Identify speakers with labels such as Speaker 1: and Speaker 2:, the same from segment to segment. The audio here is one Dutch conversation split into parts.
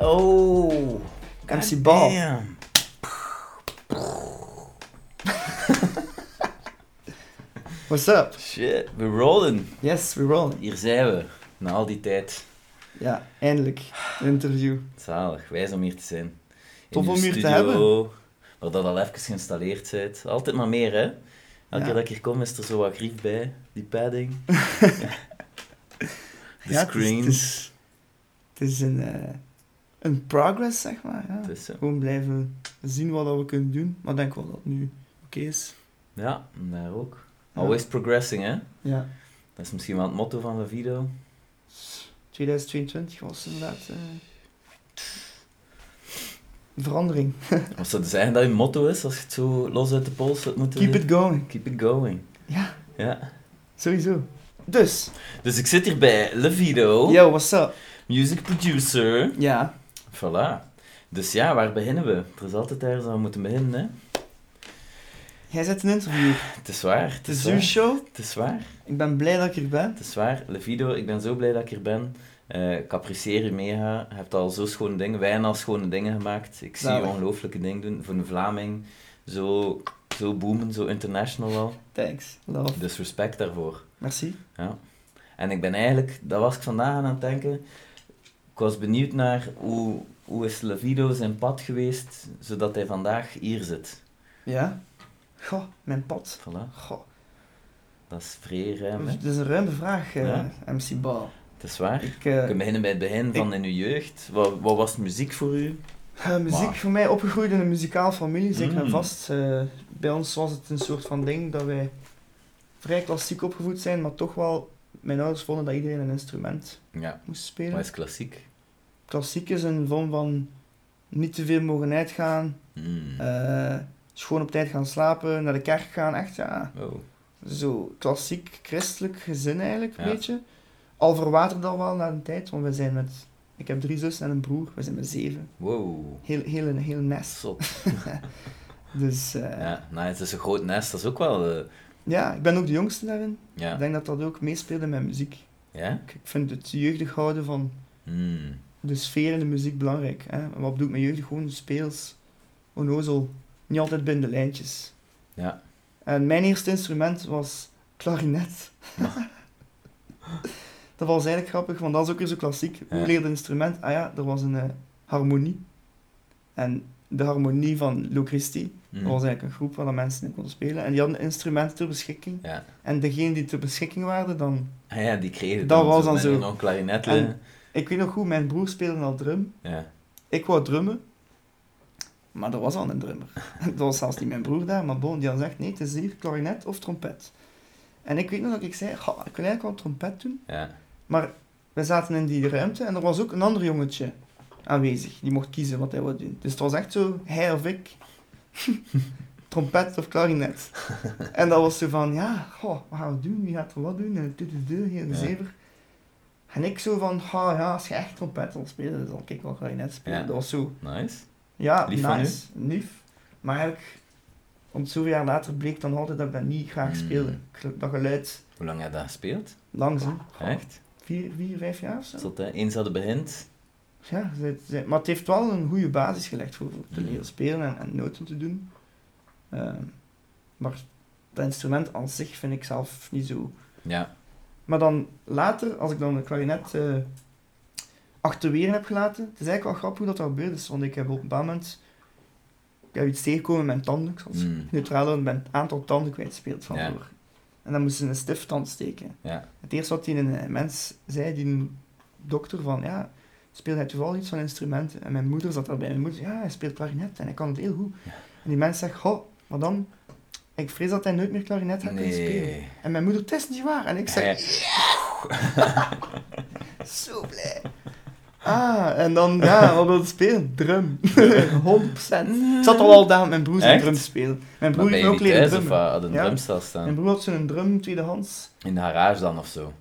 Speaker 1: Oh, MC Ball.
Speaker 2: Damn.
Speaker 1: What's up?
Speaker 2: Shit, we rollen.
Speaker 1: Yes, we rollen.
Speaker 2: Hier zijn we, na al die tijd.
Speaker 1: Ja, eindelijk. Een interview.
Speaker 2: Zalig, wijs om hier te zijn.
Speaker 1: Tof
Speaker 2: uw
Speaker 1: om hier te
Speaker 2: studio,
Speaker 1: hebben.
Speaker 2: Waar dat al even geïnstalleerd zit. Altijd maar meer, hè? Elke
Speaker 1: Ja.
Speaker 2: keer dat ik hier kom, is er zo wat grief bij. Die padding. De
Speaker 1: ja, het is-
Speaker 2: screens.
Speaker 1: Het is, het is een, eh, een progress, zeg maar. Ja.
Speaker 2: Het is zo.
Speaker 1: Gewoon blijven zien wat dat we kunnen doen. Maar ik denk wel dat het nu oké is.
Speaker 2: Ja, en daar ook.
Speaker 1: Ja.
Speaker 2: Always progressing, hè?
Speaker 1: Ja.
Speaker 2: Dat is misschien wel het motto van de video.
Speaker 1: 2022 was inderdaad... eh, verandering.
Speaker 2: Wat zou het zijn dat je motto is, als je het zo los uit de pols zou moeten
Speaker 1: Keep
Speaker 2: doen?
Speaker 1: it going.
Speaker 2: Keep it going.
Speaker 1: Ja,
Speaker 2: Ja.
Speaker 1: sowieso. Dus,
Speaker 2: Dus ik zit hier bij Levido,
Speaker 1: yo, what's up?
Speaker 2: music producer.
Speaker 1: Ja,
Speaker 2: Voilà. Dus ja, waar beginnen we? Er is altijd ergens aan we moeten beginnen, hè?
Speaker 1: jij zet een interview.
Speaker 2: Het is waar. Het
Speaker 1: Het is
Speaker 2: is
Speaker 1: uw
Speaker 2: waar.
Speaker 1: show.
Speaker 2: Het is waar.
Speaker 1: Ik ben blij dat ik er ben.
Speaker 2: Het is waar. Levido, ik ben zo blij dat ik hier ben. Eh, ik apprecieer je mega. Je hebt al zo schone dingen, wij hebben al schone dingen gemaakt. Ik zie je
Speaker 1: Zalig.
Speaker 2: ongelooflijke dingen doen. Voor een Vlaming, zo, zo boomen, zo international al.
Speaker 1: Thanks. Love.
Speaker 2: Dus respect daarvoor.
Speaker 1: Merci.
Speaker 2: En ik ben eigenlijk, dat was ik vandaag aan het denken. Ik was benieuwd naar hoe, hoe is Levido zijn pad geweest, zodat hij vandaag hier zit.
Speaker 1: Ja? Goh, mijn pad.
Speaker 2: Voilà,
Speaker 1: Goh.
Speaker 2: dat is vrij ruim, hè?
Speaker 1: Dat Dus is een ruime vraag, eh,
Speaker 2: Ja.
Speaker 1: MC Bal.
Speaker 2: Het is waar. We
Speaker 1: Ik, eh,
Speaker 2: kunnen beginnen bij het begin van in uw jeugd. Wat, wat was muziek voor u?
Speaker 1: eh, muziek
Speaker 2: Maar-
Speaker 1: voor mij opgegroeid in een muzikale familie, zeker en
Speaker 2: Mm.
Speaker 1: vast. Eh, bij ons was het een soort van ding dat wij vrij klassiek opgevoed zijn, maar toch wel, mijn ouders vonden dat iedereen een instrument
Speaker 2: Ja,
Speaker 1: moest
Speaker 2: wat
Speaker 1: spelen.
Speaker 2: is klassiek?
Speaker 1: Klassiek is een vorm van niet te veel mogen uitgaan,
Speaker 2: Hmm.
Speaker 1: eh, schoon op tijd gaan slapen, naar de kerk gaan, echt ja.
Speaker 2: Oh,
Speaker 1: zo klassiek christelijk gezin eigenlijk, een
Speaker 2: Ja.
Speaker 1: beetje. Al verwaterd al wel na een tijd, want we zijn met... Ik heb drie zussen en een broer, we zijn met zeven.
Speaker 2: wow.
Speaker 1: Heel, heel, een heel nest.
Speaker 2: Zot.
Speaker 1: Dus eh, ja.
Speaker 2: Ja, nou, het is een groot nest, dat is ook wel... eh,
Speaker 1: ik ben ook de jongste daarin. Ik
Speaker 2: ja.
Speaker 1: denk dat dat ook meespeelde met muziek.
Speaker 2: Ja?
Speaker 1: Ik ik vind het jeugdig houden van
Speaker 2: Hmm.
Speaker 1: de sfeer in de muziek belangrijk. Hè? En Wat bedoel ik met jeugdig? Gewoon speels, onnozel, niet altijd binnen de lijntjes.
Speaker 2: Ja.
Speaker 1: En mijn eerste instrument was klarinet. dat was eigenlijk grappig, want dat is ook weer zo klassiek. Hoe
Speaker 2: Ja.
Speaker 1: leerde een instrument? Ah ja, er was een eh, harmonie. En de harmonie van Locristi,
Speaker 2: Hmm.
Speaker 1: dat was eigenlijk een groep waar de mensen in konden spelen. En die hadden instrumenten ter beschikking.
Speaker 2: Ja.
Speaker 1: En degene die ter beschikking waren, dan...
Speaker 2: Ah ja, die kregen het
Speaker 1: Dat was
Speaker 2: zo
Speaker 1: dan
Speaker 2: met
Speaker 1: zo.
Speaker 2: een Nog klarinet
Speaker 1: En-
Speaker 2: liggen.
Speaker 1: Ik weet nog goed, mijn broer speelde al drum.
Speaker 2: Ja.
Speaker 1: Ik wou drummen, maar er was al een drummer. Dat was zelfs niet mijn broer daar, maar bon, die had gezegd, nee, het is hier klarinet of trompet. En ik weet nog dat ik zei, "Goh, ik wil eigenlijk wel trompet doen.
Speaker 2: Ja.
Speaker 1: Maar we zaten in die ruimte en er was ook een ander jongetje aanwezig. Die mocht kiezen wat hij wou doen. Dus het was echt zo, hij of ik. Trompet of klarinet. En dat was zo van, ja, goh, wat gaan we doen? Wie gaat er wat doen? En dit, dit, dit, heel
Speaker 2: Ja.
Speaker 1: gezever. En ik zo van, ha ja, als je echt trompet wil spelen, dan kan ik wel klarinet spelen.
Speaker 2: Ja.
Speaker 1: Dat was zo,
Speaker 2: Nice.
Speaker 1: ja,
Speaker 2: Lief van
Speaker 1: nice, lief. Maar eigenlijk, om zoveel jaar later bleek dan altijd dat ik dat niet graag
Speaker 2: Mm.
Speaker 1: speelde. Dat geluid,
Speaker 2: Hoe lang heb je dat gespeeld?
Speaker 1: langzaam.
Speaker 2: Echt?
Speaker 1: Vier, vier, vijf jaar of zo.
Speaker 2: Tot hè, eens hadden begint.
Speaker 1: Ja, ze- ze- maar het heeft wel een goede basis gelegd voor, voor te
Speaker 2: Mhm.
Speaker 1: leren spelen en, en noten te doen. Ehm, maar dat instrument aan zich vind ik zelf niet zo.
Speaker 2: Ja.
Speaker 1: Maar dan later, als ik dan de klarinet eh achterwege heb gelaten, het is eigenlijk wel grappig hoe dat, dat gebeurd is, want ik heb op een bepaald moment ik heb iets tegengekomen met mijn tanden, ik zal het
Speaker 2: Hmm.
Speaker 1: neutraal houden, ik ben een aantal tanden kwijtgespeeld van
Speaker 2: Ja.
Speaker 1: vroeger. En dan moesten ze een stift steken.
Speaker 2: Ja.
Speaker 1: Het eerste wat die een eh, mens zei, die een dokter, van ja, speelt hij toevallig iets van instrumenten? En mijn moeder zat daarbij. Mijn moeder zei, ja, hij speelt klarinet en hij kan het heel goed. En die mens zegt, goh, maar dan, ik vrees dat hij nooit meer klarinet gaat kunnen spelen.
Speaker 2: Nee.
Speaker 1: En mijn moeder, het is niet waar. En ik zeg,
Speaker 2: Hij-
Speaker 1: zo blij. Ah, en dan, ja, wat wil je spelen? Drum. 100%. Ik zat al al daar met mijn broer zijn
Speaker 2: Echt?
Speaker 1: drum te spelen.
Speaker 2: Maar
Speaker 1: Mijn broer
Speaker 2: ben
Speaker 1: heeft
Speaker 2: je
Speaker 1: me ook
Speaker 2: niet
Speaker 1: leren
Speaker 2: thuis of
Speaker 1: drummen.
Speaker 2: wat? had een
Speaker 1: Ja.
Speaker 2: drumstel
Speaker 1: Mijn
Speaker 2: staan?
Speaker 1: broer had zo'n drum tweedehands.
Speaker 2: In de garage dan of zo?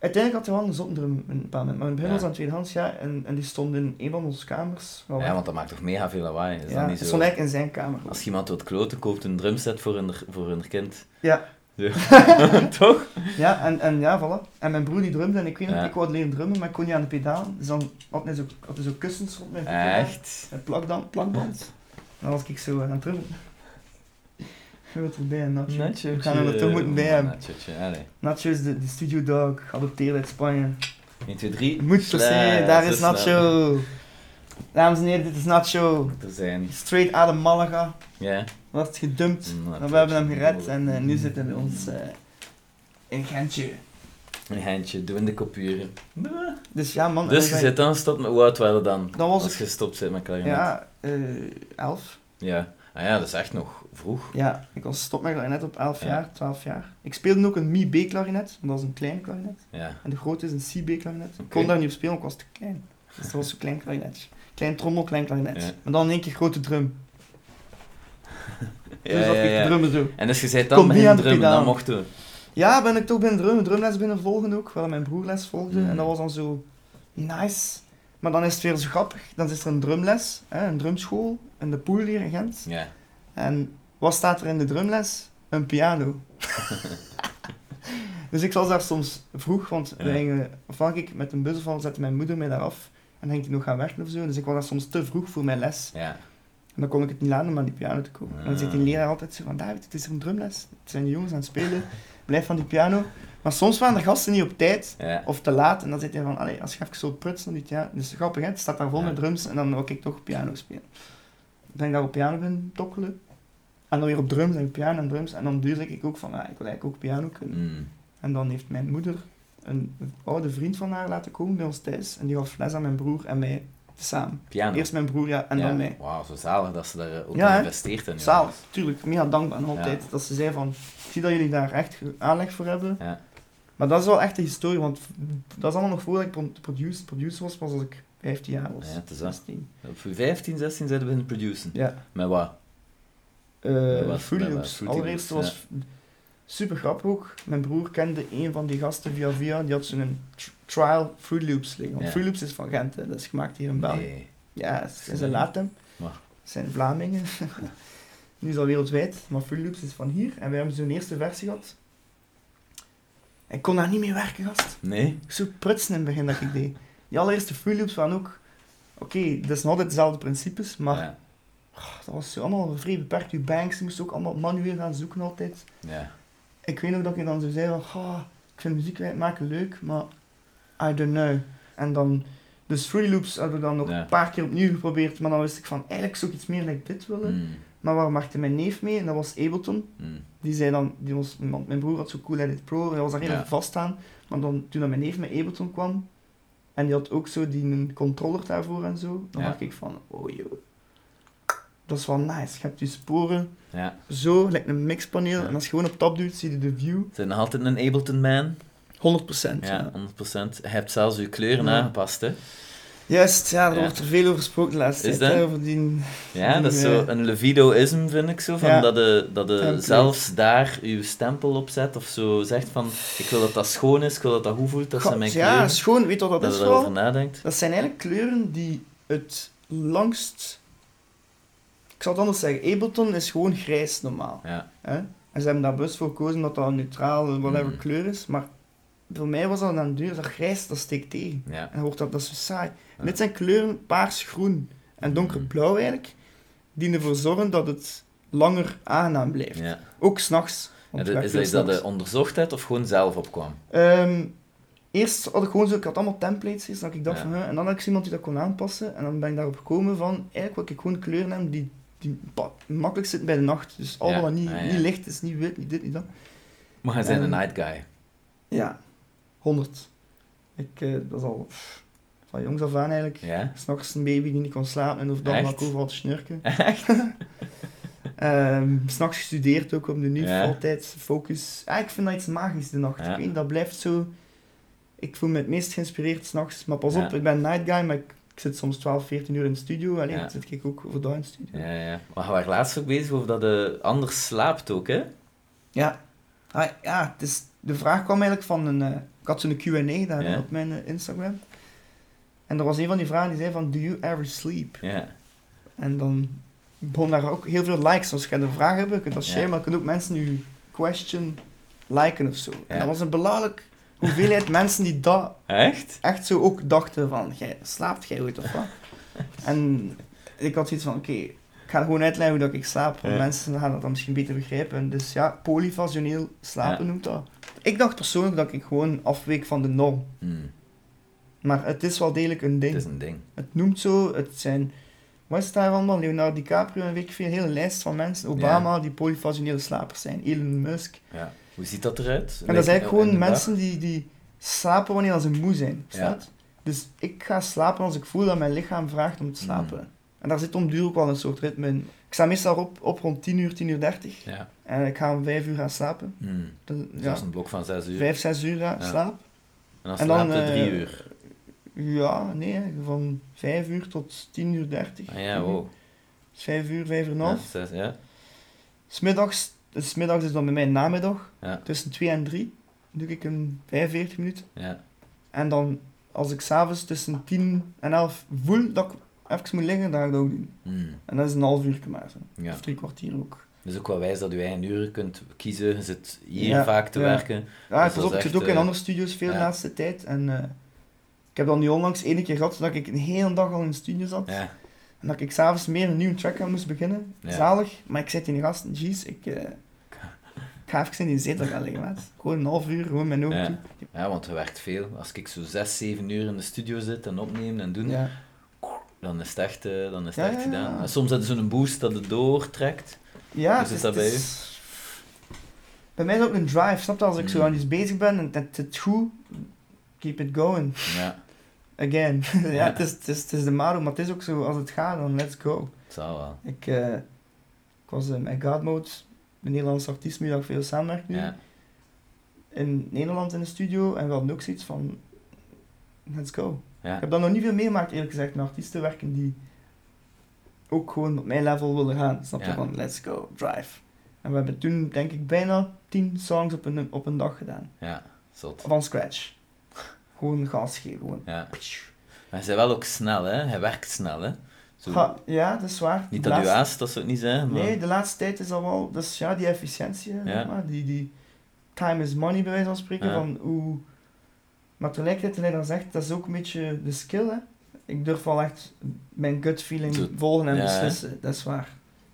Speaker 1: Uiteindelijk had hij wel een zondrum een paar moment, maar in het begin
Speaker 2: Ja.
Speaker 1: was dat een tweedehands, ja, en, en die stond in een van onze kamers. Wel,
Speaker 2: Ja, want dat maakt toch mega veel lawaai? Is
Speaker 1: ja,
Speaker 2: dat
Speaker 1: het
Speaker 2: niet zo?
Speaker 1: stond eigenlijk in zijn kamer.
Speaker 2: Als iemand wat kloten koopt een drumset voor hun, voor hun kind,
Speaker 1: Ja,
Speaker 2: Toch?
Speaker 1: Ja, en, en ja, voilà. En mijn broer die drumde en ik weet nog,
Speaker 2: Ja.
Speaker 1: ik wou leren drummen, maar ik kon niet aan de pedalen. Dus dan had hij zo, had hij zo kussens rond mijn voeten.
Speaker 2: Echt?
Speaker 1: En plakband. plakband. En dan was ik zo eh, aan het drummen. Goed erbij, Nacho.
Speaker 2: Natje. eh,
Speaker 1: We gaan hem er toch moeten bij hebben.
Speaker 2: Natje, allee.
Speaker 1: Nacho is de, de studio dog, geadopteerd uit Spanje.
Speaker 2: 1, 2, 3.
Speaker 1: Moet per se, daar is Nacho. Dames en heren, dit is Nacho.
Speaker 2: Er zijn.
Speaker 1: Straight out of Malaga.
Speaker 2: Ja.
Speaker 1: Wordt gedumpt. Maar we hebben hem gered en eh, nu zit hij bij ons eh, in Gentje.
Speaker 2: Een handje, doe in de kopuren.
Speaker 1: Dus ja, man.
Speaker 2: Dus
Speaker 1: eh,
Speaker 2: je
Speaker 1: wij-
Speaker 2: zit dan gestopt met... Hoe oud waren we dan?
Speaker 1: Dan was
Speaker 2: Als je gestopt zit met klarinet.
Speaker 1: Ja, eh, elf.
Speaker 2: Ja. Ah ja, dat is echt nog vroeg.
Speaker 1: Ja, ik was stop met klarinet op 11
Speaker 2: Ja.
Speaker 1: jaar, 12 jaar. Ik speelde ook een Mi B klarinet, want dat is een klein klarinet.
Speaker 2: Ja.
Speaker 1: En de grote is een C B klarinet. Ik
Speaker 2: Oké.
Speaker 1: kon daar niet op spelen, want ik was te klein. Dus dat was zo'n klein klarinet. Klein trommel, klein klarinet.
Speaker 2: Ja.
Speaker 1: En dan in één keer grote drum.
Speaker 2: Ja,
Speaker 1: dus dat
Speaker 2: ja,
Speaker 1: ik
Speaker 2: ja.
Speaker 1: drummen zo.
Speaker 2: En dus je zei
Speaker 1: Kom
Speaker 2: dan met
Speaker 1: niet
Speaker 2: hem
Speaker 1: aan de
Speaker 2: drummen, dan
Speaker 1: pedalen.
Speaker 2: mochten we.
Speaker 1: Ja, ben ik toch binnen drum, drumles binnen volgen ook, waar mijn broer les volgde.
Speaker 2: Mm.
Speaker 1: En dat was dan zo nice. Maar dan is het weer zo grappig. Dan is er een drumles, hè, een drumschool, in de pool hier in Gent.
Speaker 2: Ja.
Speaker 1: En wat staat er in de drumles? Een piano. dus ik was daar soms vroeg, want we
Speaker 2: Ja.
Speaker 1: gingen, ofwel ik met een bus of al zette mijn moeder mij daar af. En dan ging ik nog gaan werken of zo. Dus ik was daar soms te vroeg voor mijn les.
Speaker 2: Ja.
Speaker 1: En dan kon ik het niet laten om aan die piano te komen. En dan zit die
Speaker 2: Ah.
Speaker 1: leraar altijd zo van, David, het is een drumles. Het zijn de jongens aan het spelen. Blijf van die piano. Maar soms waren de gasten niet op tijd
Speaker 2: Ja.
Speaker 1: of te laat. En dan zit hij van, allee, als je even zo prutsen op die piano. Dus grappig, hè? Het staat daar vol
Speaker 2: Ja.
Speaker 1: met drums en dan wil ik toch piano spelen. Ben ik daar op piano ben tokkelen. En dan weer op drums en op piano en drums. En dan duurde ik ook van, ah, ik wil eigenlijk ook piano kunnen.
Speaker 2: Mm.
Speaker 1: En dan heeft mijn moeder een oude vriend van haar laten komen bij ons thuis. En die gaf les aan mijn broer en mij samen.
Speaker 2: Piano.
Speaker 1: Eerst mijn broer ja, en
Speaker 2: ja.
Speaker 1: dan mij.
Speaker 2: Wauw, zo zalig dat ze daar eh, ook
Speaker 1: Ja,
Speaker 2: in
Speaker 1: hè?
Speaker 2: investeert. in,
Speaker 1: Zalig,
Speaker 2: jongens.
Speaker 1: tuurlijk. Mega dankbaar en altijd.
Speaker 2: Ja.
Speaker 1: Dat ze zei van, ik zie dat jullie daar echt ge- aanleg voor hebben.
Speaker 2: Ja.
Speaker 1: Maar dat is wel echt de historie, want v- dat is allemaal nog voordat ik pro- produce, producer was, pas als ik 15 jaar was.
Speaker 2: Ja, het is dat.
Speaker 1: 16.
Speaker 2: Op je 15, 16 zijn we beginnen produceren.
Speaker 1: Ja.
Speaker 2: Met wat? Dat
Speaker 1: Eh
Speaker 2: was-
Speaker 1: Fruity
Speaker 2: dat
Speaker 1: Loops.
Speaker 2: was Fruity
Speaker 1: Allereerst
Speaker 2: Loops,
Speaker 1: was super grappig ook. Mijn broer kende een van die gasten via via, die had zo'n tr- trial Fruity Loops liggen. Want
Speaker 2: Ja.
Speaker 1: Fruity Loops is van Gent, hè. dat is gemaakt hier in België.
Speaker 2: Nee.
Speaker 1: Ja, het is een Latem.
Speaker 2: Maar-
Speaker 1: Het zijn Vlamingen. nu is dat wereldwijd, maar Full Loops is van hier. En wij hebben zo'n eerste versie gehad. Ik kon daar niet mee werken, gast.
Speaker 2: Nee?
Speaker 1: Zo prutsen in het begin dat ik deed. Die allereerste Full Loops waren ook... Oké, dat is nog altijd dezelfde principes, maar
Speaker 2: Ja.
Speaker 1: dat was zo allemaal vrij beperkt. Je banks moest ook allemaal manueel gaan zoeken altijd.
Speaker 2: ja.
Speaker 1: Ik weet nog dat ik dan zo zei van... "Goh, ik vind muziek maken leuk, maar... I don't know. En dan... Dus Fruity Loops hebben we dan nog
Speaker 2: Ja.
Speaker 1: een paar keer opnieuw geprobeerd, maar dan wist ik van, eigenlijk zou ik iets meer like dit willen.
Speaker 2: Mm.
Speaker 1: Maar waar maakte mijn neef mee? En dat was Ableton.
Speaker 2: Mm.
Speaker 1: Die zei dan, die was, want mijn broer had zo cool Edit Pro, hij was daar heel
Speaker 2: Ja.
Speaker 1: erg vast aan. Maar dan, toen dat mijn neef met Ableton kwam, en die had ook zo die een controller daarvoor en zo, dan
Speaker 2: Ja.
Speaker 1: dacht ik van, oh joh. Dat is wel nice. Je hebt die sporen
Speaker 2: Ja.
Speaker 1: zo, like een mixpaneel.
Speaker 2: Ja.
Speaker 1: En als je gewoon op tab doet, zie je de view. 100%.
Speaker 2: Zijn nog altijd een Ableton man?
Speaker 1: Ja.
Speaker 2: Ja, 100%. Je hebt zelfs je kleuren
Speaker 1: Ja.
Speaker 2: aangepast, hè?
Speaker 1: Juist, ja, daar
Speaker 2: Ja.
Speaker 1: wordt er veel over gesproken de laatste
Speaker 2: Is
Speaker 1: tijd. hè,
Speaker 2: dat?
Speaker 1: Over die...
Speaker 2: Ja,
Speaker 1: Die,
Speaker 2: dat is
Speaker 1: eh,
Speaker 2: zo een levidoïsme, vind ik zo. Van
Speaker 1: Ja.
Speaker 2: Dat je dat je
Speaker 1: Template.
Speaker 2: zelfs daar je stempel op zet of zo zegt van: Ik wil dat dat schoon is, ik wil dat dat goed voelt, dat zijn mijn
Speaker 1: Gods, ja,
Speaker 2: kleuren.
Speaker 1: schoon, weet je wat dat,
Speaker 2: dat
Speaker 1: is
Speaker 2: je
Speaker 1: wel?
Speaker 2: daarover nadenkt.
Speaker 1: Dat zijn eigenlijk kleuren die het langst. Ik zal het anders zeggen. Ableton is gewoon grijs normaal.
Speaker 2: Ja.
Speaker 1: Hè? En ze hebben daar bewust voor gekozen dat dat een neutraal, whatever
Speaker 2: Mm.
Speaker 1: kleur is. Maar voor mij was dat aan de duur. Dat grijs, dat steekt tegen.
Speaker 2: Ja.
Speaker 1: En dan wordt dat, dat is zo saai.
Speaker 2: Ja. Mm.
Speaker 1: Dit zijn kleuren paars, groen en donkerblauw eigenlijk. Die ervoor zorgen dat het langer aangenaam blijft.
Speaker 2: ja.
Speaker 1: Ook s'nachts.
Speaker 2: Ja, dat- is dat iets dat je onderzocht hebt of gewoon zelf opkwam?
Speaker 1: Ehm, eerst had ik gewoon zo, ik had allemaal templates eerst, dat ik dacht
Speaker 2: Ja.
Speaker 1: van, hè, en dan had ik zo iemand die dat kon aanpassen, en dan ben ik daarop gekomen van, eigenlijk wil ik gewoon kleuren hebben die, die pa- makkelijk zitten bij de nacht, dus al
Speaker 2: Ja,
Speaker 1: wat niet,
Speaker 2: ja, ja.
Speaker 1: niet licht is, niet wit, niet dit, niet dat.
Speaker 2: Maar je bent een
Speaker 1: Ehm,
Speaker 2: night guy.
Speaker 1: Ja, 100. Ik, eh, dat is al pff, van jongs af aan eigenlijk.
Speaker 2: Ja?
Speaker 1: S'nachts een baby die niet kon slapen en overdag
Speaker 2: Echt?
Speaker 1: maar ik overal te snurken.
Speaker 2: Echt?
Speaker 1: Ehm, S'nachts gestudeerd ook op de NUF,
Speaker 2: Ja.
Speaker 1: altijd focus. Ah, ik vind dat iets magisch de nacht.
Speaker 2: Ja.
Speaker 1: Ik weet, dat blijft zo. Ik voel me het meest geïnspireerd s'nachts. Maar pas
Speaker 2: Ja.
Speaker 1: op, ik ben night guy, maar ik, ik zit soms 12, 14 uur in de studio. Alleen
Speaker 2: Ja.
Speaker 1: dan zit ik ook overdag in de studio.
Speaker 2: Ja, ja. Maar we waren laatst ook bezig over dat je anders slaapt ook, hè?
Speaker 1: Ja, ah, ja het is, de vraag kwam eigenlijk van een. eh, ik had zo'n QA daar
Speaker 2: Ja.
Speaker 1: op mijn eh, Instagram. En er was een van die vragen die zei: van, Do you ever sleep?
Speaker 2: Ja.
Speaker 1: En dan begon daar ook heel veel likes. Als je een vraag hebt, kun je dat
Speaker 2: Ja.
Speaker 1: share, maar je kunt ook mensen nu question liken of zo. En
Speaker 2: Ja.
Speaker 1: dat was een belachelijk hoeveelheid mensen die dat
Speaker 2: Echt?
Speaker 1: echt zo ook dachten van, jij, slaapt jij ooit of wat? en ik had zoiets van, oké, ik ga gewoon uitleggen hoe dat ik slaap, want
Speaker 2: Ja.
Speaker 1: mensen gaan dat dan misschien beter begrijpen. Dus ja, polyfasioneel slapen noemt dat. Ik dacht persoonlijk dat ik gewoon afweek van de norm.
Speaker 2: Hm,
Speaker 1: Maar het is wel degelijk een ding.
Speaker 2: Het is een ding.
Speaker 1: Het noemt zo, het zijn... Wat is daar allemaal? Leonardo DiCaprio en weet ik veel, een hele lijst van mensen. Obama, die polyfasionele slapers zijn. Elon Musk.
Speaker 2: Ja. Hoe ziet dat eruit?
Speaker 1: En dat zijn eigenlijk gewoon mensen die, die slapen wanneer ze moe zijn. Staat? Dus ik ga slapen als ik voel dat mijn lichaam vraagt om
Speaker 2: Mm.
Speaker 1: te slapen. En daar zit om duur ook wel een soort ritme in. Ik sta meestal op, op rond 10 uur, 10 uur 30.
Speaker 2: Ja.
Speaker 1: En ik ga om 5 uur gaan slapen.
Speaker 2: Hm,
Speaker 1: Dan,
Speaker 2: Dus
Speaker 1: ja,
Speaker 2: dat is een blok van 6 uur.
Speaker 1: 5, 6 uur ja,
Speaker 2: Ja.
Speaker 1: slaap.
Speaker 2: En dan
Speaker 1: en dan,
Speaker 2: slaapt het 3
Speaker 1: eh,
Speaker 2: uur.
Speaker 1: Ja, nee, hè, van 5 uur tot 10 uur 30.
Speaker 2: Ah, ja, wow.
Speaker 1: 5 uur, 5 uur en
Speaker 2: Ja,
Speaker 1: een half.
Speaker 2: zes, ja.
Speaker 1: Smiddags, dus middags is dan bij mij namiddag.
Speaker 2: Ja.
Speaker 1: Tussen 2 en 3 doe ik een 45 minuten.
Speaker 2: ja.
Speaker 1: En dan, als ik s'avonds tussen 10 en 11 voel dat ik even moet liggen, dan ga ik dat ook doen.
Speaker 2: Hm,
Speaker 1: En dat is een half uur maar. zo.
Speaker 2: ja.
Speaker 1: Of drie kwartier ook.
Speaker 2: Dus ook wel wijs dat je eigen uren kunt kiezen. Je zit hier
Speaker 1: Ja,
Speaker 2: vaak te
Speaker 1: ja.
Speaker 2: werken.
Speaker 1: Ja,
Speaker 2: Dus
Speaker 1: pas
Speaker 2: dat
Speaker 1: op,
Speaker 2: is
Speaker 1: ik zit
Speaker 2: echt,
Speaker 1: ook in
Speaker 2: eh,
Speaker 1: andere studios veel
Speaker 2: ja.
Speaker 1: de laatste tijd. En eh, ik heb dan nu onlangs één keer gehad dat ik een hele dag al in de studio zat.
Speaker 2: Ja.
Speaker 1: En dat ik s'avonds meer een nieuwe track aan moest beginnen.
Speaker 2: Ja.
Speaker 1: Zalig. Maar ik zit in de gasten, jeez, ik... eh, ik ga even in die zetel gaan liggen, maat. Gewoon een half uur, gewoon mijn ogen
Speaker 2: Ja.
Speaker 1: toe.
Speaker 2: ja, want je werkt veel. Als ik zo 6, 7 uur in de studio zit en opneem en doen,
Speaker 1: Ja.
Speaker 2: dan is het echt, eh, dan is het
Speaker 1: Ja,
Speaker 2: echt
Speaker 1: ja, ja.
Speaker 2: gedaan. En soms hebben ze zo'n boost dat het doortrekt.
Speaker 1: Ja,
Speaker 2: Hoe zit dat bij
Speaker 1: is- Bij mij is het ook een drive, snap je? Als ik zo
Speaker 2: Mm.
Speaker 1: aan iets bezig ben en het zit goed, keep it going.
Speaker 2: Ja,
Speaker 1: Again. ja,
Speaker 2: Ja.
Speaker 1: Het, is, het, is, het is de maro, maar het is ook zo, als het gaat, dan let's go.
Speaker 2: het zal wel.
Speaker 1: Ik, eh, ik was eh, met Godmode, een Nederlandse artiest met wie ik veel samenwerk nu,
Speaker 2: Ja.
Speaker 1: in Nederland in de studio en we hadden ook zoiets van, let's go.
Speaker 2: Ja.
Speaker 1: Ik heb dat nog niet veel meemaakt, eerlijk gezegd, met artiesten werken die ook gewoon op mijn level willen gaan. Snap je?
Speaker 2: Ja.
Speaker 1: Van let's go, drive. En we hebben toen, denk ik, bijna 10 songs op een, op een dag gedaan.
Speaker 2: Ja, zot.
Speaker 1: Van scratch. Gewoon gas geven, gewoon.
Speaker 2: Ja. Maar ze zijn wel ook snel, hè? Hij werkt snel, hè? Zo.
Speaker 1: Ga- ja, dat is waar.
Speaker 2: Niet
Speaker 1: De
Speaker 2: dat u
Speaker 1: laatste-
Speaker 2: haast, dat zou het niet zijn, maar...
Speaker 1: Nee, de laatste tijd is al wel... Dus ja, die efficiëntie, hè,
Speaker 2: Ja.
Speaker 1: zeg maar, die, die time is money, bij wijze van spreken.
Speaker 2: Ja.
Speaker 1: Van hoe... Maar tegelijkertijd, en hij dan zegt, dat is ook een beetje de skill, hè. Ik durf wel echt mijn gut feeling
Speaker 2: Zo-
Speaker 1: volgen en
Speaker 2: ja, hè.
Speaker 1: beslissen. Dat is waar.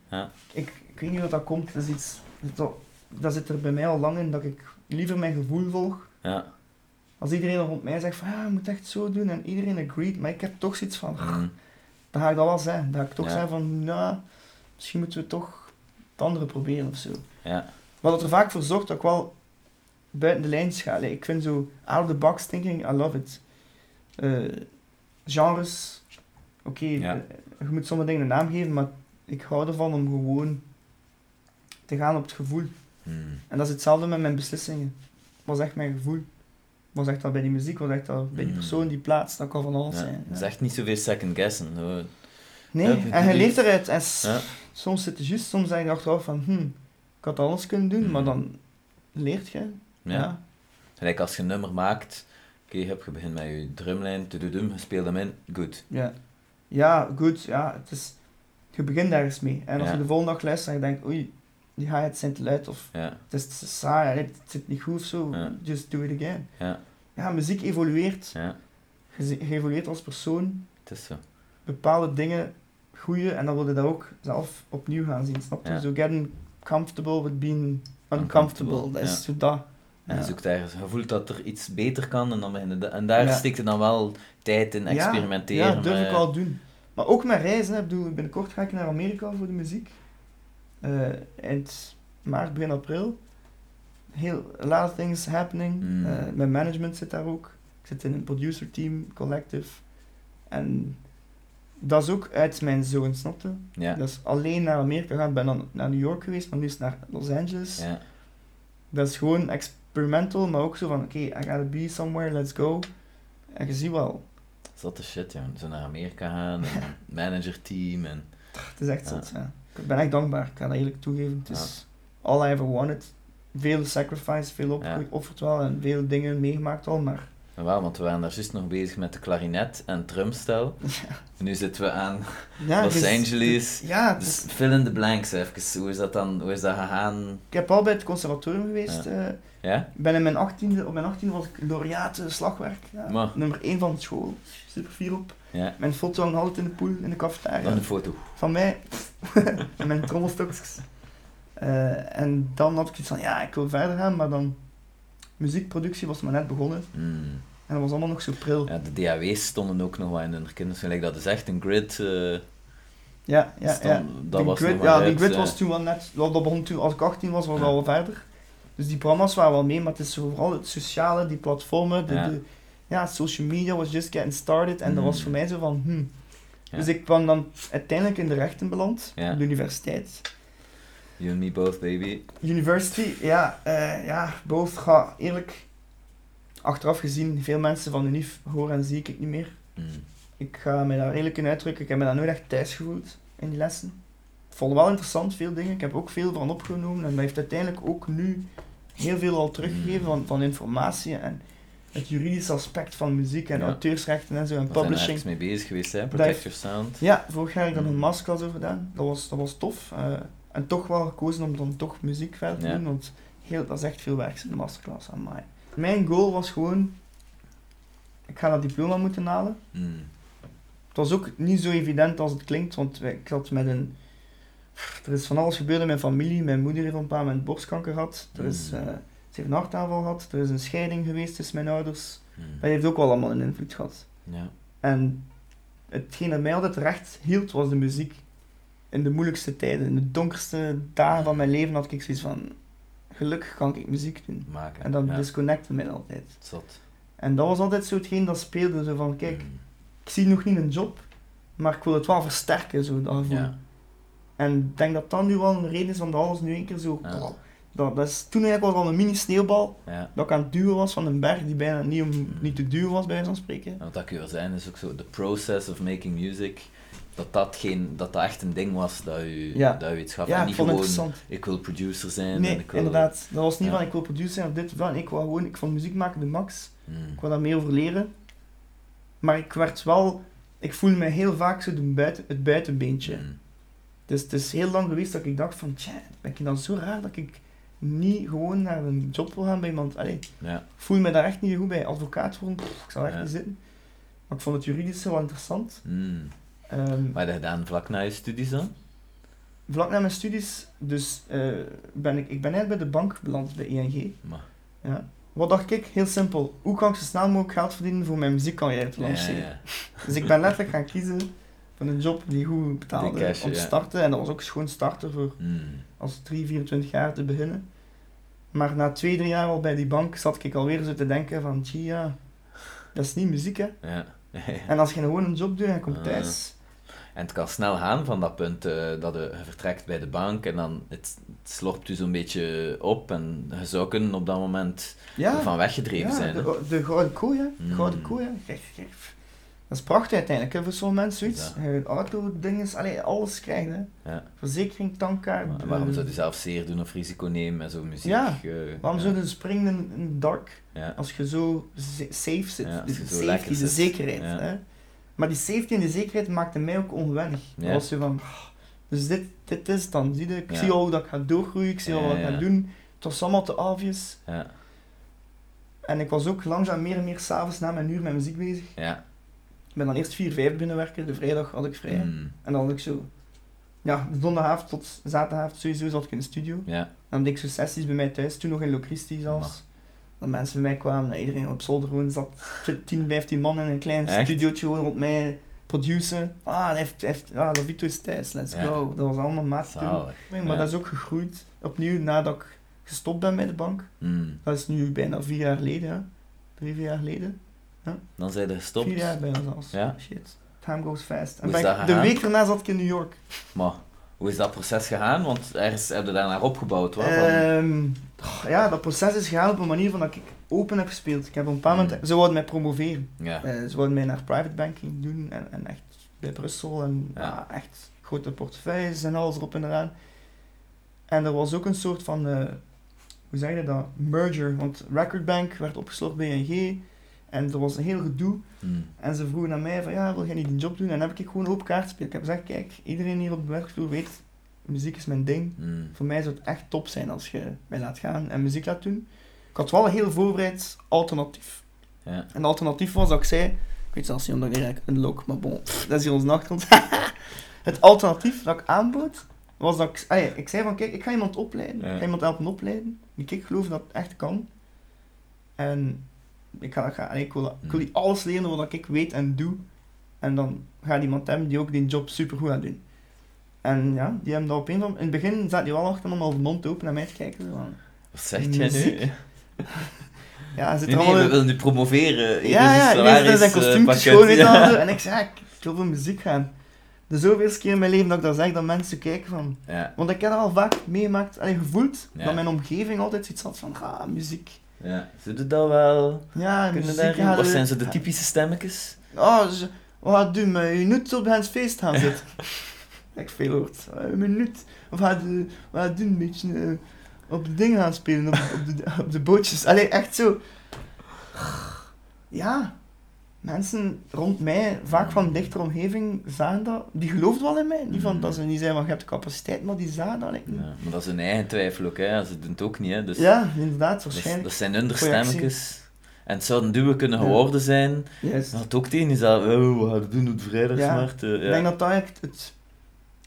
Speaker 2: Ja.
Speaker 1: Ik, ik weet niet wat dat komt. Dat is iets... Dat, dat zit er bij mij al lang in, dat ik liever mijn gevoel volg.
Speaker 2: Ja.
Speaker 1: Als iedereen rond mij zegt van, ja, je moet echt zo doen, en iedereen agreed, maar ik heb toch zoiets van...
Speaker 2: Mhm.
Speaker 1: Dan ga ik dat wel zeggen. Dan ga ik toch
Speaker 2: Ja.
Speaker 1: zeggen van, nou, misschien moeten we toch het andere proberen of zo.
Speaker 2: Ja.
Speaker 1: Wat het er vaak voor zorgt dat ik wel buiten de lijn schaal. hè. Ik vind zo out of the box thinking, I love it. Eh, genres, oké,
Speaker 2: Ja.
Speaker 1: eh, je moet sommige dingen een naam geven, maar ik hou ervan om gewoon te gaan op het gevoel.
Speaker 2: Mhm.
Speaker 1: En dat is hetzelfde met mijn beslissingen. Was echt mijn gevoel. Was echt dat bij die muziek, was echt dat bij die
Speaker 2: Mm.
Speaker 1: persoon, die plaats, dat kan van alles
Speaker 2: Ja.
Speaker 1: zijn.
Speaker 2: Het is
Speaker 1: ja.
Speaker 2: echt niet zoveel second guessing. Zo.
Speaker 1: Nee,
Speaker 2: Ja,
Speaker 1: en je
Speaker 2: die-
Speaker 1: leeft eruit. En s-
Speaker 2: Ja.
Speaker 1: Soms zit het juist, soms denk je achteraf van, hm, ik had alles kunnen doen,
Speaker 2: Mhm.
Speaker 1: maar dan leert je.
Speaker 2: Ja. Gelijk als je een nummer maakt, oké, heb je begint met je drumlijn, tududum, je speelt hem in, goed.
Speaker 1: Ja, ja goed, ja, het is, je begint ergens mee. En als
Speaker 2: Ja.
Speaker 1: je de volgende dag luistert en je denkt, oei, die hi-hats zijn te luid, of
Speaker 2: Ja,
Speaker 1: het is te saai, het zit niet goed of zo,
Speaker 2: Ja.
Speaker 1: just do it again.
Speaker 2: Ja.
Speaker 1: ja muziek evolueert,
Speaker 2: ja,
Speaker 1: je ze- je evolueert als persoon,
Speaker 2: het is zo.
Speaker 1: bepaalde dingen groeien en dan wil je dat ook zelf opnieuw gaan zien, snap je?
Speaker 2: Ja.
Speaker 1: So getting comfortable with being
Speaker 2: Uncomfortable,
Speaker 1: uncomfortable, dat is zo dat.
Speaker 2: En je
Speaker 1: Ja.
Speaker 2: zoekt ergens, je voelt dat er iets beter kan en, dan begin je da- en daar
Speaker 1: Ja.
Speaker 2: steekt je dan wel tijd in,
Speaker 1: Ja,
Speaker 2: experimenteren.
Speaker 1: Ja, durf ik
Speaker 2: eh,
Speaker 1: wel doen. Maar ook met reizen. Hè. Ik bedoel, binnenkort ga ik naar Amerika voor de muziek. Eh, eind maart, begin april. Heel, a lot of things happening.
Speaker 2: Mm.
Speaker 1: Eh, mijn management zit daar ook. Ik zit in een producer team, collective. En dat is ook uit mijn zoon, snapte?
Speaker 2: Ja,
Speaker 1: Dat is alleen naar Amerika gaan. Ik ben dan naar New York geweest, maar nu is het naar Los Angeles.
Speaker 2: ja,
Speaker 1: Dat is gewoon experimental, maar ook zo van, oké, I gotta be somewhere, let's go. En je ziet wel,
Speaker 2: zotte shit, joh. Zo naar Amerika gaan, en managerteam en...
Speaker 1: Het is echt
Speaker 2: Ja.
Speaker 1: zot, ja. Ik ben echt dankbaar, ik ga dat eerlijk toegeven. Het
Speaker 2: Ja.
Speaker 1: is all I ever wanted. Veel sacrifice, veel opgeofferd wel en veel dingen meegemaakt al, maar
Speaker 2: En waarom? Want we waren daar juist nog bezig met de klarinet en trumstel. En nu zitten we aan
Speaker 1: Ja,
Speaker 2: Los
Speaker 1: dus- het is-
Speaker 2: Angeles.
Speaker 1: Ja, het
Speaker 2: Dus
Speaker 1: is-
Speaker 2: fill in the blanks even. Hoe is dat dan? Hoe is dat gegaan?
Speaker 1: ik heb al bij het conservatorium geweest. eh,
Speaker 2: Ja?
Speaker 1: ben in mijn 18e, op mijn 18e was ik laureaat eh, slagwerk. Ja,
Speaker 2: Maar.
Speaker 1: Nummer 1 van de school. Super fier op.
Speaker 2: Ja.
Speaker 1: Mijn foto hangt altijd in de poel, in de cafetaria.
Speaker 2: Dan een foto.
Speaker 1: Van mij. en mijn trommelstokjes. Eh, en dan had ik iets van, ja, ik wil verder gaan, maar dan... Muziekproductie was maar net begonnen.
Speaker 2: Hmm.
Speaker 1: En dat was allemaal nog zo pril. Ja,
Speaker 2: Ja, de DAW's stonden ook nog wel in hun kinders. Gelijk dat is echt een grid. eh,
Speaker 1: ja, ja.
Speaker 2: stond- Dus Dat
Speaker 1: die
Speaker 2: was
Speaker 1: grid,
Speaker 2: nog maar
Speaker 1: ja, die
Speaker 2: uit,
Speaker 1: grid
Speaker 2: eh,
Speaker 1: was toen wel net... wel, Dat begon toen, als ik 18 was, was
Speaker 2: Ja.
Speaker 1: dat al verder. Dus die programma's waren wel mee, maar het is zo vooral het sociale, die platformen, de...
Speaker 2: Ja.
Speaker 1: de- ja, social media was just getting started. En dat was
Speaker 2: Mm.
Speaker 1: voor mij zo van, hmm.
Speaker 2: Ja.
Speaker 1: Dus ik kwam dan uiteindelijk in de rechten beland,
Speaker 2: Ja.
Speaker 1: op de universiteit.
Speaker 2: You and me both, baby.
Speaker 1: University, ja, eh, ja, both ga eerlijk. Achteraf gezien, veel mensen van de NIF horen en zie ik het niet meer.
Speaker 2: Hmm.
Speaker 1: Ik ga me daar eerlijk in uitdrukken. Ik heb me daar nooit echt thuis gevoeld in die lessen. Ik vond het wel interessant, veel dingen. Ik heb ook veel van opgenomen en dat heeft uiteindelijk ook nu heel veel al
Speaker 2: Mm.
Speaker 1: teruggegeven van, van informatie en het juridische aspect van muziek en
Speaker 2: Ja.
Speaker 1: auteursrechten en zo en
Speaker 2: We zijn er
Speaker 1: publishing.
Speaker 2: ergens mee bezig geweest, hè? Protect
Speaker 1: Daar-
Speaker 2: Your Sound.
Speaker 1: Ja, vorig jaar heb ik dan een
Speaker 2: Mm.
Speaker 1: masterclass over gedaan. Dat was, dat was tof. eh, en toch wel gekozen om dan toch muziek verder te
Speaker 2: Ja.
Speaker 1: doen, want heel, dat is echt veel werk, een masterclass aan mij. Mijn goal was gewoon, ik ga dat diploma moeten halen.
Speaker 2: Hmm.
Speaker 1: Het was ook niet zo evident als het klinkt, want wij- ik zat met een... Er is van alles gebeurd in mijn familie. Mijn moeder heeft op een bepaald moment borstkanker gehad. Er is,
Speaker 2: Mm.
Speaker 1: eh, ze heeft een hartaanval gehad. Er is een scheiding geweest tussen mijn ouders.
Speaker 2: Hmm.
Speaker 1: Dat heeft ook wel allemaal een invloed gehad.
Speaker 2: Ja.
Speaker 1: En hetgeen dat mij altijd recht hield, was de muziek. In de moeilijkste tijden, in de donkerste dagen van mijn leven, had ik zoiets van... Gelukkig kan ik muziek doen.
Speaker 2: Maken.
Speaker 1: En dat
Speaker 2: ja.
Speaker 1: disconnecte mij altijd.
Speaker 2: Zot.
Speaker 1: En dat was altijd zo hetgeen dat speelde. Zo van, kijk,
Speaker 2: Hmm.
Speaker 1: ik zie nog niet een job, maar ik wil het wel versterken, zo dat gevoel.
Speaker 2: Ja.
Speaker 1: En ik denk dat dat nu wel een reden is van dat alles nu één keer zo...
Speaker 2: Ja.
Speaker 1: Dat, dat is toen eigenlijk was al een mini-sneeuwbal
Speaker 2: ja.
Speaker 1: dat ik aan het duwen was van een berg die bijna niet, om, niet te duwen was, bij wijze van spreken.
Speaker 2: En Wat dat kun je zijn is ook zo, the process of making music, dat dat, geen, dat, dat echt een ding was dat je,
Speaker 1: Ja.
Speaker 2: dat je iets gaf.
Speaker 1: Ja,
Speaker 2: en
Speaker 1: ik
Speaker 2: niet
Speaker 1: vond het
Speaker 2: gewoon,
Speaker 1: interessant.
Speaker 2: ik wil producer zijn. en
Speaker 1: Nee,
Speaker 2: ik wil,
Speaker 1: inderdaad. Dat was niet
Speaker 2: Ja.
Speaker 1: van ik wil producer zijn of dit of dat. Nee, Ik wou gewoon, ik vond muziek maken de max.
Speaker 2: Hmm.
Speaker 1: Ik wou daar meer over leren. Maar ik werd wel, ik voelde mij heel vaak zo de buiten, het buitenbeentje.
Speaker 2: Hmm.
Speaker 1: Dus het is heel lang geweest dat ik dacht van, tja, ben ik dan zo raar dat ik niet gewoon naar een job wil gaan bij iemand. Allee, ik
Speaker 2: Ja.
Speaker 1: voel me daar echt niet goed bij. Advocaat worden, pff, ik zou daar echt
Speaker 2: Ja.
Speaker 1: niet zitten. Maar ik vond het juridische wel interessant.
Speaker 2: Hmm.
Speaker 1: Ehm,
Speaker 2: Wat heb je gedaan vlak na je studies dan?
Speaker 1: vlak na mijn studies, dus eh, ben ik, ik ben eigenlijk bij de bank beland, bij ING.
Speaker 2: Maar,
Speaker 1: Ja. Wat dacht ik? Heel simpel. Hoe kan ik zo snel mogelijk geld verdienen voor mijn muziekcarrière te
Speaker 2: ja,
Speaker 1: lanceren?
Speaker 2: ja.
Speaker 1: Dus ik ben letterlijk gaan kiezen voor een job die goed betaalde
Speaker 2: Die cash,
Speaker 1: om te
Speaker 2: ja.
Speaker 1: starten. En dat was ook schoon starten voor
Speaker 2: Hmm.
Speaker 1: als 3, 24 jaar te beginnen. Maar na 2, 3 jaar al bij die bank zat ik alweer zo te denken van, tja, ja, dat is niet muziek hè.
Speaker 2: Ja.
Speaker 1: En als je gewoon een job doet en je komt
Speaker 2: Ah.
Speaker 1: thuis,
Speaker 2: En het kan snel gaan van dat punt eh, dat je vertrekt bij de bank en dan het, het slorpt je zo'n beetje op en je zou kunnen op dat moment
Speaker 1: ja,
Speaker 2: ervan weggedreven
Speaker 1: ja,
Speaker 2: zijn. hè.
Speaker 1: de, de gouden kooi hè. De gouden
Speaker 2: Mm.
Speaker 1: kooi hè. Kijk, kijk. Dat is prachtig uiteindelijk hè, voor sommige mensen zoiets.
Speaker 2: Ja.
Speaker 1: Je auto, dinges, allee, alles krijgen hè.
Speaker 2: Ja.
Speaker 1: Verzekering,
Speaker 2: Maar
Speaker 1: tankkaart.
Speaker 2: waarom
Speaker 1: eh,
Speaker 2: zou je zelf zeer doen of risico nemen en zo muziek?
Speaker 1: Ja,
Speaker 2: eh,
Speaker 1: Waarom
Speaker 2: ja.
Speaker 1: zou je springen in, in het dark
Speaker 2: Ja.
Speaker 1: als je zo ze- safe zit?
Speaker 2: Ja,
Speaker 1: de
Speaker 2: als je zo
Speaker 1: safety,
Speaker 2: lekker
Speaker 1: de
Speaker 2: zit.
Speaker 1: zekerheid.
Speaker 2: Ja.
Speaker 1: Hè? Maar die safety en die zekerheid maakten mij ook onwennig.
Speaker 2: Ja.
Speaker 1: Dat was zo van, ah, dus dit, dit is het dan. Zie je? Ik
Speaker 2: Ja.
Speaker 1: zie al hoe dat ik ga doorgroeien, ik zie al
Speaker 2: Ja,
Speaker 1: wat ik ga
Speaker 2: ja.
Speaker 1: doen. Het was allemaal te obvious.
Speaker 2: Ja.
Speaker 1: En ik was ook langzaam meer en meer s'avonds na mijn uur met muziek bezig.
Speaker 2: ja.
Speaker 1: Ik ben dan eerst 4, 5 binnenwerken, de vrijdag had ik vrij.
Speaker 2: Mm.
Speaker 1: En dan had ik zo, ja, de donderdagavond tot zaterdagavond sowieso zat ik in de studio.
Speaker 2: Ja.
Speaker 1: Dan deed ik zo sessies bij mij thuis, toen nog in Locristi zelfs. Dat mensen bij mij kwamen, dat iedereen op zolder gewoon zat. 10, 15 man in een klein
Speaker 2: Echt?
Speaker 1: studiootje gewoon rond mij produceren. Ah, hij heeft, hij heeft, ah, Lavito is thuis, let's
Speaker 2: Ja.
Speaker 1: go. Dat was allemaal maat toen.
Speaker 2: Zalig.
Speaker 1: Maar
Speaker 2: Ja.
Speaker 1: dat is ook gegroeid, opnieuw nadat ik gestopt ben met de bank.
Speaker 2: Mm.
Speaker 1: Dat is nu bijna vier jaar geleden, hè. Drie, vier jaar geleden.
Speaker 2: Dan zijn er gestopt.
Speaker 1: Vier jaar bijna zelfs.
Speaker 2: Ja.
Speaker 1: Shit. Time goes fast. En
Speaker 2: Hoe is
Speaker 1: ben ik-
Speaker 2: dat
Speaker 1: de
Speaker 2: gegaan?
Speaker 1: week daarna zat ik in New York.
Speaker 2: Maar hoe is dat proces gegaan? Want ergens hebben we daarnaar opgebouwd. Hoor, van-
Speaker 1: Ehm, oh, ja, dat proces is gegaan op een manier van dat ik open heb gespeeld. Ik heb op een bepaald moment...
Speaker 2: Mm.
Speaker 1: Ze wouden mij promoveren.
Speaker 2: ja.
Speaker 1: Eh, ze wouden mij naar private banking doen en, en echt bij Brussel en
Speaker 2: Ja.
Speaker 1: ah, echt grote portefeuilles en alles erop en eraan. En er was ook een soort van... eh, hoe zeg je dat? Merger. Want Record Bank werd opgesloten bij ING. En er was een heel gedoe.
Speaker 3: Hm.
Speaker 2: Hmm.
Speaker 1: En ze vroegen aan mij van, ja, wil jij niet die job doen? En dan heb ik gewoon open kaart gespeeld. Ik heb gezegd, kijk, iedereen hier op de werkvloer weet, muziek is mijn ding.
Speaker 3: Hm.
Speaker 2: Hmm.
Speaker 1: Voor mij zou het echt top zijn als je mij laat gaan en muziek laat doen. Ik had wel heel voorbereid alternatief.
Speaker 2: Ja.
Speaker 1: En het alternatief was dat ik zei, ik weet zelfs niet omdat ik eigenlijk een lok, maar bon, pff, dat is hier ons nachtgrond. het alternatief dat ik aanbood, was dat ik, ah ja, ik zei van kijk, ik ga iemand opleiden,
Speaker 2: Ja.
Speaker 1: ik ga iemand helpen opleiden, die ik geloof dat het echt kan. En ik, ga, ik, ga, ik, wil, ik
Speaker 2: Hmm.
Speaker 1: wil die alles leren wat ik weet en doe. En dan gaat iemand hebben die ook die job super goed gaat doen. En ja, die hebben dat op een of andere... In het begin zat die wel achter allemaal de mond open naar mij te kijken. zo van,
Speaker 2: Wat zegt jij nu?
Speaker 1: Muziek. Ja, hij zit
Speaker 2: Nee,
Speaker 1: er
Speaker 2: nee,
Speaker 1: allemaal...
Speaker 2: we willen nu promoveren. Hier
Speaker 1: Ja,
Speaker 2: Dus is
Speaker 1: ja,
Speaker 2: een
Speaker 1: iedereen zit in zijn
Speaker 2: salaris, eh,
Speaker 1: kostuum
Speaker 2: pakket.
Speaker 1: schoon weet je wel,
Speaker 2: Ja.
Speaker 1: zo. En ik zeg, ja, ik ik wil voor muziek gaan. De zoveelste keer in mijn leven dat ik dat zeg, dat mensen kijken van...
Speaker 2: Ja,
Speaker 1: Want ik heb dat al vaak meemaakt en gevoeld,
Speaker 2: Ja.
Speaker 1: dat mijn omgeving altijd zoiets had van, ah, muziek.
Speaker 2: ja. Ze doen dat wel.
Speaker 1: Ja,
Speaker 2: Kunnen
Speaker 1: muziek.
Speaker 2: daarin-
Speaker 1: ja,
Speaker 2: Of
Speaker 1: dat-
Speaker 2: zijn ze de typische stemmetjes?
Speaker 1: Oh, ze- wat gaat doen, maar je moet op het feest gaan zitten. ik veel hoort. Eh, Een minuut. Of gaat, eh, wat gaat doen, een beetje eh, op de dingen gaan spelen, op, op, de, op de bootjes. Allee, echt zo. Ja, mensen rond mij, vaak van dichter omgeving, zagen dat. Die geloofden wel in mij. Niet van dat ze niet zeiden van je hebt de capaciteit, maar die zagen dat. eigenlijk
Speaker 2: Mhm. Ja,
Speaker 1: niet.
Speaker 2: maar dat is hun eigen twijfel ook, hè. Ze doen het ook niet, hè. Dus
Speaker 1: Mm. ja, inderdaad,
Speaker 2: dat,
Speaker 1: waarschijnlijk.
Speaker 2: dat zijn hun
Speaker 1: Projectie.
Speaker 2: stemmetjes. En het zouden duwen kunnen
Speaker 1: Ja.
Speaker 2: geworden zijn.
Speaker 1: Juist.
Speaker 2: Dat het ook tegen dus- is dat, oh, we gaan het doen op de vrijdagsmarkt. eh,
Speaker 1: Ik
Speaker 2: Ja.
Speaker 1: denk dat dat echt het,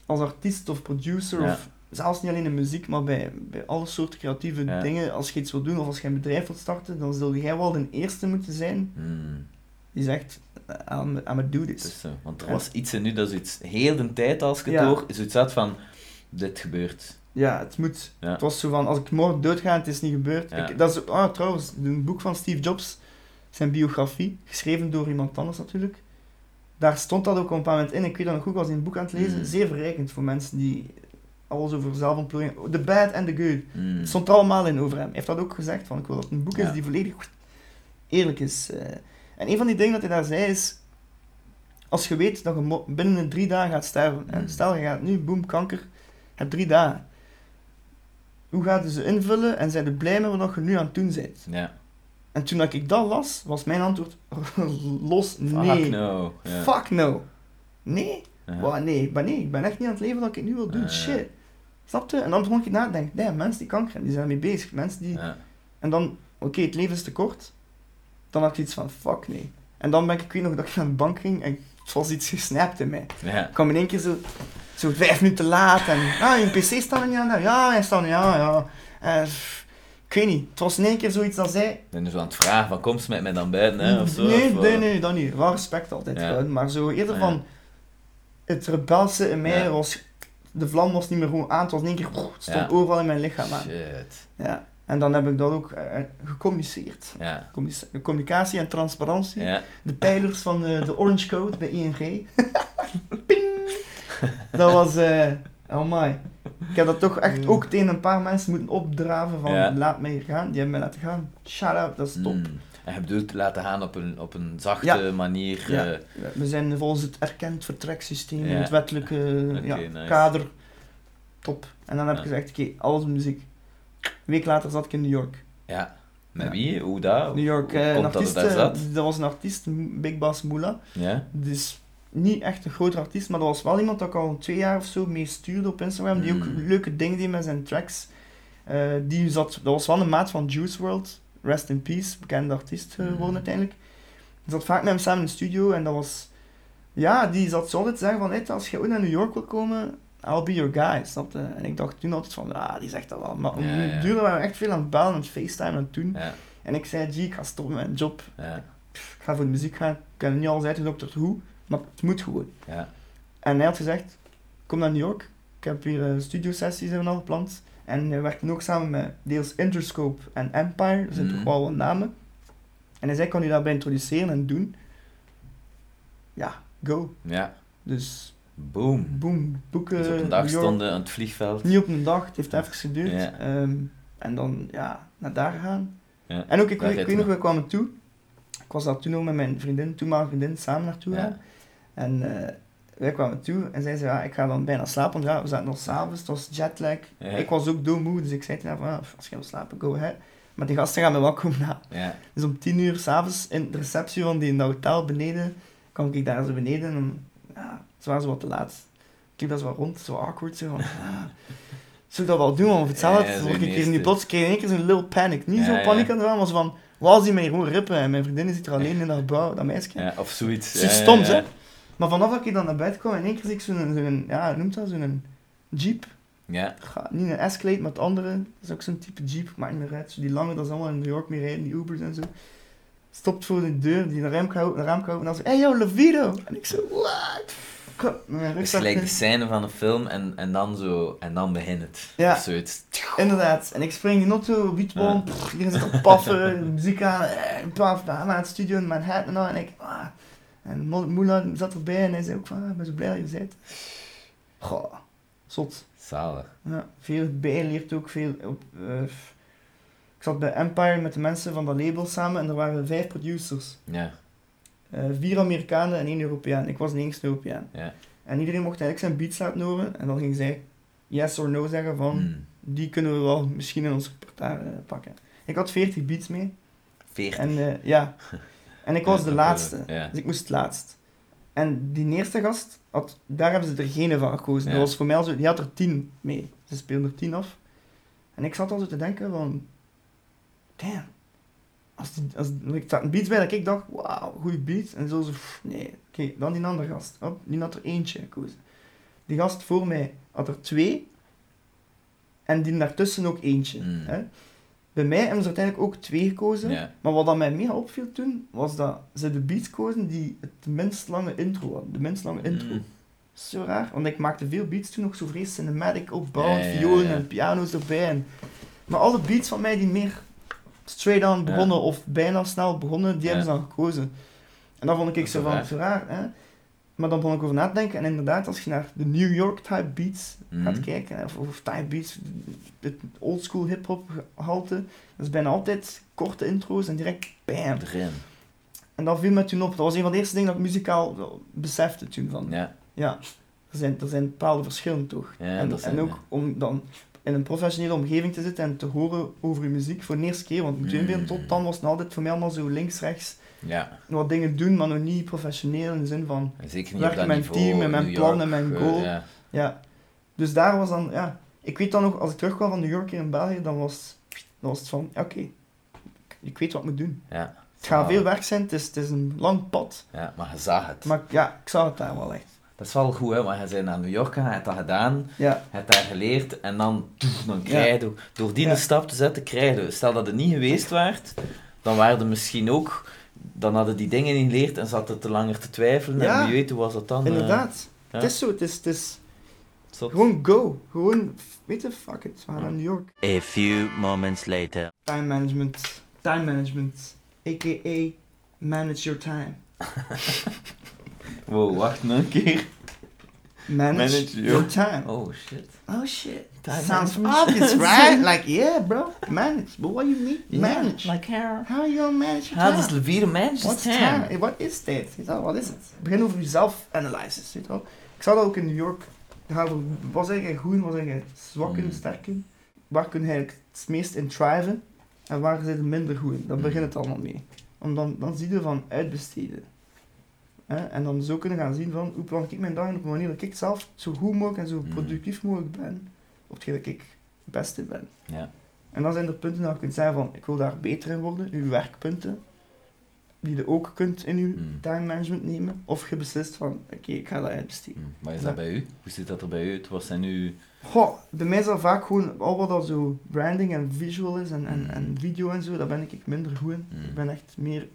Speaker 1: als artiest of producer,
Speaker 2: Ja.
Speaker 1: of zelfs niet alleen in muziek, maar bij, bij alle soorten creatieve
Speaker 2: Ja.
Speaker 1: dingen, als je iets wil doen of als je een bedrijf wilt starten, dan zul jij wel de eerste moeten zijn
Speaker 2: Hmm,
Speaker 1: die zegt, I'm, I'm a do
Speaker 2: het
Speaker 1: this.
Speaker 2: is zo. Dus, eh, Want er
Speaker 1: En-
Speaker 2: was iets in nu dat zoiets, heel de tijd als ik het
Speaker 1: Ja.
Speaker 2: hoor, zoiets had van, dit gebeurt.
Speaker 1: Ja, het moet.
Speaker 2: Ja.
Speaker 1: Het was zo van, als ik morgen doodga en het is niet gebeurd.
Speaker 2: Ja.
Speaker 1: Ik, dat is, ah, trouwens, een boek van Steve Jobs, zijn biografie, geschreven door iemand anders natuurlijk. Daar stond dat ook op een bepaald moment in. Ik weet dat nog goed, ik was in het boek aan het lezen.
Speaker 2: Mm.
Speaker 1: Zeer verrijkend voor mensen die alles over zelfontplooiing... The bad and the good.
Speaker 2: Hmm.
Speaker 1: Het stond er allemaal in over hem. Hij heeft dat ook gezegd, van ik wil dat het een boek is
Speaker 2: Ja.
Speaker 1: die volledig eerlijk is. eh. en een van die dingen dat hij daar zei is, als je weet dat je mo- binnen de drie dagen gaat sterven, hè,
Speaker 2: Mm.
Speaker 1: stel je gaat nu, boem, kanker, je hebt drie dagen. Hoe gaat je ze invullen en zijn er blij mee wat je nu aan het doen bent?
Speaker 2: Ja.
Speaker 1: En toen dat ik dat las, was mijn antwoord los nee.
Speaker 2: Fuck no. Ja.
Speaker 1: Fuck no. Nee,
Speaker 2: Ja.
Speaker 1: Wa, nee, ik ben, nee, ik ben echt niet aan het leven dat ik nu wil doen.
Speaker 2: Ja, ja, ja.
Speaker 1: Shit. Snap je? En dan begon ik na te denken. Nee, mensen die kanker hebben, die zijn ermee bezig. Mensen die...
Speaker 2: Ja.
Speaker 1: En dan, oké, het leven is te kort. Dan had ik iets van, fuck nee. En dan ben ik, ik weet nog dat ik naar de bank ging en het was iets gesnapt in mij.
Speaker 2: Ja.
Speaker 1: Ik kwam in één keer zo, zo vijf minuten laat en... Ah, je pc staat er niet aan. daar. Ja, hij staat er niet aan, ja. Eh, pff, ik weet niet. Het was in één keer zoiets dat zij...
Speaker 2: Ik ben nu zo aan het vragen van, kom eens met mij dan buiten, hè, of zo.
Speaker 1: nee,
Speaker 2: of,
Speaker 1: nee,
Speaker 2: eh,
Speaker 1: nee, dat niet. Wel respect altijd
Speaker 2: Ja.
Speaker 1: gehouden, maar zo eerder
Speaker 2: Ja.
Speaker 1: van... Het rebelse in mij
Speaker 2: Ja.
Speaker 1: was... De vlam was niet meer gewoon aan, het was in één keer... Het stond
Speaker 2: Ja.
Speaker 1: overal in mijn lichaam aan.
Speaker 2: Shit.
Speaker 1: Ja. En dan heb ik dat ook eh, gecommuniceerd.
Speaker 2: Ja.
Speaker 1: Commis- Communicatie en transparantie.
Speaker 2: Ja.
Speaker 1: De pijlers van eh, de Orange Code bij ING. Ping! Dat was... eh oh my. Ik heb dat toch echt ook tegen een paar mensen moeten opdraven van...
Speaker 2: Ja.
Speaker 1: Laat mij hier gaan. Die hebben mij laten gaan. Shout out, dat is top.
Speaker 2: Mm. En je bedoelt laten gaan op een, op een zachte
Speaker 1: Ja.
Speaker 2: manier.
Speaker 1: Ja.
Speaker 2: eh,
Speaker 1: We zijn volgens het erkend vertreksysteem
Speaker 2: Ja.
Speaker 1: en het wettelijke
Speaker 2: Oké,
Speaker 1: eh, ja,
Speaker 2: nice.
Speaker 1: kader. Top. En dan heb ik
Speaker 2: Ja.
Speaker 1: gezegd, oké, alles muziek. Een week later zat ik in New York.
Speaker 2: ja. Met
Speaker 1: Ja.
Speaker 2: wie? Hoe dat?
Speaker 1: New York,
Speaker 2: Oh. Hoe
Speaker 1: eh, een
Speaker 2: komt dat
Speaker 1: artiest,
Speaker 2: het daar
Speaker 1: eh,
Speaker 2: zat?
Speaker 1: dat was een artiest, M- Big Bass Moolah.
Speaker 2: Ja.
Speaker 1: Dus niet echt een grote artiest, maar dat was wel iemand dat ik al twee jaar of zo mee stuurde op Instagram. Die ook
Speaker 2: Mm.
Speaker 1: leuke dingen deed met zijn tracks. Eh, die zat, dat was wel een maat van Juice World. Rest in Peace, bekende artiest eh, geworden
Speaker 2: Mm.
Speaker 1: uiteindelijk. Ik zat vaak met hem samen in de studio en dat was... Ja, die zat zo altijd te zeggen van, "Hey, als je ooit naar New York wil komen, I'll be your guy, snap je? En ik dacht toen altijd van, ah, die zegt dat wel. Maar om
Speaker 2: Ja, ja.
Speaker 1: de duur waren we echt veel aan het bellen en facetime aan het doen.
Speaker 2: Ja.
Speaker 1: En ik zei, gee, ik ga stoppen met mijn job.
Speaker 2: Ja.
Speaker 1: Pff, Ik ga voor de muziek gaan. Ik heb niet al uitgedokterd hoe, maar het moet gewoon.
Speaker 2: Ja.
Speaker 1: En hij had gezegd, kom naar New York. Ik heb hier eh, studiosessies en al gepland. En we werkten ook samen met deels Interscope en Empire. Dat zijn
Speaker 2: Mhm.
Speaker 1: toch wel wat namen. En hij zei, kan je daarbij introduceren en doen? Ja, go.
Speaker 2: Ja.
Speaker 1: Dus
Speaker 2: Boom.
Speaker 1: boom, boeken,
Speaker 2: Dus op een dag
Speaker 1: New York.
Speaker 2: stonden aan het vliegveld.
Speaker 1: Niet op een dag, het heeft even geduurd.
Speaker 2: Ja.
Speaker 1: Ehm, en dan, ja, naar daar gaan.
Speaker 2: Ja,
Speaker 1: En
Speaker 2: daar
Speaker 1: ook, ik, weet- ik
Speaker 2: gaat
Speaker 1: weet
Speaker 2: hij
Speaker 1: nog, we kwamen toe. Ik was daar toen ook met mijn vriendin, toenmalige vriendin, samen naartoe gaan.
Speaker 2: Ja.
Speaker 1: En eh, wij kwamen toe en zij zei, ja, ik ga dan bijna slapen. Want ja, we zaten nog s'avonds, het was jetlag.
Speaker 2: Ja.
Speaker 1: Ik was ook doodmoe, dus ik zei tegen haar van, "Ja, als je wil slapen, go ahead. Maar die gasten gaan me wel komen na.
Speaker 2: Ja.
Speaker 1: Dus om tien uur s'avonds in de receptie van die in dat hotel beneden, kwam ik daar zo beneden en dan, ja, ze waren zo wat te laat. Ik liep daar zo wat rond, zo awkward, zo van, ah, zou ik dat wel doen, want hetzelfde,
Speaker 2: Ja, ja,
Speaker 1: ja,
Speaker 2: zo
Speaker 1: word
Speaker 2: in
Speaker 1: ik hier nu
Speaker 2: eerste.
Speaker 1: plots, kreeg in één keer zo'n little panic. Niet
Speaker 2: Ja,
Speaker 1: zo
Speaker 2: ja.
Speaker 1: paniek aan het wel, maar zo van, was die mij gewoon rippen en mijn vriendin zit er alleen in dat gebouw, dat meisje.
Speaker 2: ja, of zoiets.
Speaker 1: Zo
Speaker 2: Ja, ja,
Speaker 1: stom,
Speaker 2: ja.
Speaker 1: hè? Maar vanaf dat ik dan naar buiten kwam, in één keer zie ik zo'n, zo'n ja, hoe noemt dat, zo'n jeep.
Speaker 2: Ja,
Speaker 1: Ga- Niet een Escalade, maar het andere. Dat is ook zo'n type Jeep, maakt niet meer uit. Zo Die lange, dat is allemaal in New York mee rijden, die Ubers en zo. Stopt voor de deur, die een ruim kan openen, een raam kan openen, en dan zo, hey yo, Levido! En ik zo, what? Ik had Mijn
Speaker 2: het is
Speaker 1: rugzak
Speaker 2: Dus gelijk de
Speaker 1: in.
Speaker 2: scène van een film en, en dan zo, en dan begint het.
Speaker 1: Ja.
Speaker 2: Of zoiets.
Speaker 1: Inderdaad, en ik spring in die auto, wietboom,
Speaker 2: Ja.
Speaker 1: pff, iedereen zit te paffen, muziek aan, eh, paf, aan het studio in Manhattan en al, en ik, ah. En Mo- Moela zat erbij en hij zei ook van, ah, ik ben zo blij dat je bent. Goh, zot.
Speaker 2: Zalig.
Speaker 1: Ja, veel bijgeleerd ook. Veel op, eh, ik zat bij Empire met de mensen van dat label samen en er waren vijf producers.
Speaker 2: Ja,
Speaker 1: Eh, vier Amerikanen en één Europeaan. Ik was de enige Europeaan.
Speaker 2: ja.
Speaker 1: En iedereen mocht eigenlijk zijn beats laten horen en dan ging zij yes or no zeggen van
Speaker 2: Hmm.
Speaker 1: die kunnen we wel misschien in ons repertoire eh, pakken. Ik had 40 beats mee
Speaker 2: Veertig.
Speaker 1: en eh, ja. En ik was
Speaker 2: Ja,
Speaker 1: de
Speaker 2: dat
Speaker 1: laatste.
Speaker 2: wel, ja.
Speaker 1: Dus ik moest het laatst. En die eerste gast, had, daar hebben ze er geen van gekozen.
Speaker 2: Ja.
Speaker 1: Dat was voor mij al zo, die had er tien mee. Ze speelden er tien af. En ik zat al zo te denken van... Damn. Als die, als, ik zat een beat bij dat ik dacht, wauw, goede beat. En zo zo, pff, nee. Oké, dan die andere gast. Hop, die had er eentje gekozen. Die gast voor mij had er twee. En die daartussen ook eentje.
Speaker 2: Mm.
Speaker 1: Hè? Bij mij hebben ze uiteindelijk ook twee gekozen.
Speaker 2: Ja.
Speaker 1: Maar wat dat mij mega opviel toen, was dat ze de beats kozen die het minst lange intro hadden. De minst lange intro.
Speaker 2: Mm.
Speaker 1: Zo raar, want ik maakte veel beats toen nog zo vrees cinematic opbouwend,
Speaker 2: Ja, ja, ja,
Speaker 1: violen
Speaker 2: ja.
Speaker 1: en piano's erbij. En... Maar alle beats van mij die meer straight on begonnen of bijna snel begonnen, die
Speaker 2: Ja.
Speaker 1: hebben ze dan gekozen. En dan vond ik
Speaker 2: Dat is
Speaker 1: zo
Speaker 2: wel
Speaker 1: van,
Speaker 2: raar.
Speaker 1: zo raar, hè. Maar dan begon ik over na te denken en inderdaad, als je naar de New York type beats gaat
Speaker 2: Mhm.
Speaker 1: kijken, of, of type beats, het oldschool hip-hop gehalte, dat is bijna altijd korte intro's en direct bam.
Speaker 2: Erin.
Speaker 1: En dat viel me toen op. Dat was een van de eerste dingen dat ik muzikaal wel besefte toen. Van,
Speaker 2: Ja,
Speaker 1: ja, er zijn, er zijn bepaalde verschillen toch.
Speaker 2: ja
Speaker 1: en,
Speaker 2: dat zijn
Speaker 1: en ook om dan in een professionele omgeving te zitten en te horen over je muziek voor de eerste keer. Want
Speaker 2: Mm.
Speaker 1: moet je inbeelden, tot dan was het altijd voor mij allemaal zo links, rechts.
Speaker 2: Ja,
Speaker 1: Wat dingen doen, maar nog niet professioneel in de zin van...
Speaker 2: en zeker niet
Speaker 1: Werk
Speaker 2: op dat
Speaker 1: mijn
Speaker 2: niveau.
Speaker 1: team en mijn
Speaker 2: New
Speaker 1: plan en
Speaker 2: York,
Speaker 1: mijn
Speaker 2: eh,
Speaker 1: goal.
Speaker 2: ja.
Speaker 1: Ja. Dus daar was dan... Ja, ik weet dan nog, als ik terugkwam van New York hier in België, dan was, dan was het van... ja, Oké, ik weet wat ik moet doen.
Speaker 2: Ja.
Speaker 1: Het gaat
Speaker 2: Ah.
Speaker 1: veel werk zijn, het is, het is een lang pad.
Speaker 2: ja, maar je zag het.
Speaker 1: Maar ja, ik zag het daar wel echt.
Speaker 2: Dat is wel goed, hè, want je bent naar New York gegaan, je hebt dat gedaan,
Speaker 1: Ja,
Speaker 2: je hebt daar geleerd en dan, toef, dan krijg je, door die
Speaker 1: Ja.
Speaker 2: stap te zetten, krijg je. Stel dat je niet geweest waart, dan waren er misschien ook, dan hadden die dingen niet geleerd en zaten te langer te twijfelen
Speaker 1: Ja.
Speaker 2: en wie weet hoe was dat dan. eh,
Speaker 1: inderdaad.
Speaker 2: ja.
Speaker 1: Het is zo, het is... Het is
Speaker 2: zot.
Speaker 1: Gewoon go. Gewoon, f- weet je, fuck it. We gaan naar New York.
Speaker 3: A few moments later.
Speaker 1: Time management. Time management. A.k.a. manage your time.
Speaker 2: Wow, wacht nog een keer.
Speaker 1: Manage,
Speaker 2: Manage
Speaker 1: your,
Speaker 2: your-
Speaker 1: time. Oh,
Speaker 2: Oh shit.
Speaker 1: shit.
Speaker 2: Time
Speaker 1: Sounds
Speaker 2: management.
Speaker 1: obvious, right? like, yeah, bro. Manage. But what do you mean?
Speaker 2: Ja,
Speaker 1: manage.
Speaker 2: Like her.
Speaker 1: How you gonna manage your
Speaker 2: How
Speaker 1: time?
Speaker 2: does Levita manage
Speaker 1: What's
Speaker 2: his
Speaker 1: time?
Speaker 2: time?
Speaker 1: Eh, What is dit? Weet je wel, Wat is het? Begin over jezelf analyses, weet je wel. Ik zat ook in New York. Ja, Wat zeg je goed, wat zeg je zwak in,
Speaker 2: Mm.
Speaker 1: sterk in? Waar kun je eigenlijk het meest in thriven? En waar zit het minder goed in? Daar
Speaker 2: Mm.
Speaker 1: begint het allemaal mee. Om dan, dan zie je van uitbesteden. Hè? En dan zo kunnen gaan zien van, hoe plan ik mijn dagen op een manier dat ik zelf zo goed mogelijk en zo
Speaker 2: Mm.
Speaker 1: productief mogelijk ben. Op hetgeen dat ik het beste ben.
Speaker 2: Ja.
Speaker 1: En dan zijn er punten dat je kunt zeggen van, ik wil daar beter in worden, uw werkpunten, die je ook kunt in uw
Speaker 2: Mm.
Speaker 1: time management nemen. Of je beslist van, oké, ik ga dat uitbesteden.
Speaker 2: Hm, Maar is
Speaker 1: Ja.
Speaker 2: dat bij u? Hoe ziet dat er bij u uit? Wat zijn uw...
Speaker 1: Goh, bij mij is dat vaak gewoon, al wat dat zo branding en visual is en, en, en video en zo, daar ben ik minder goed in.
Speaker 2: hm,
Speaker 1: Ik ben echt meer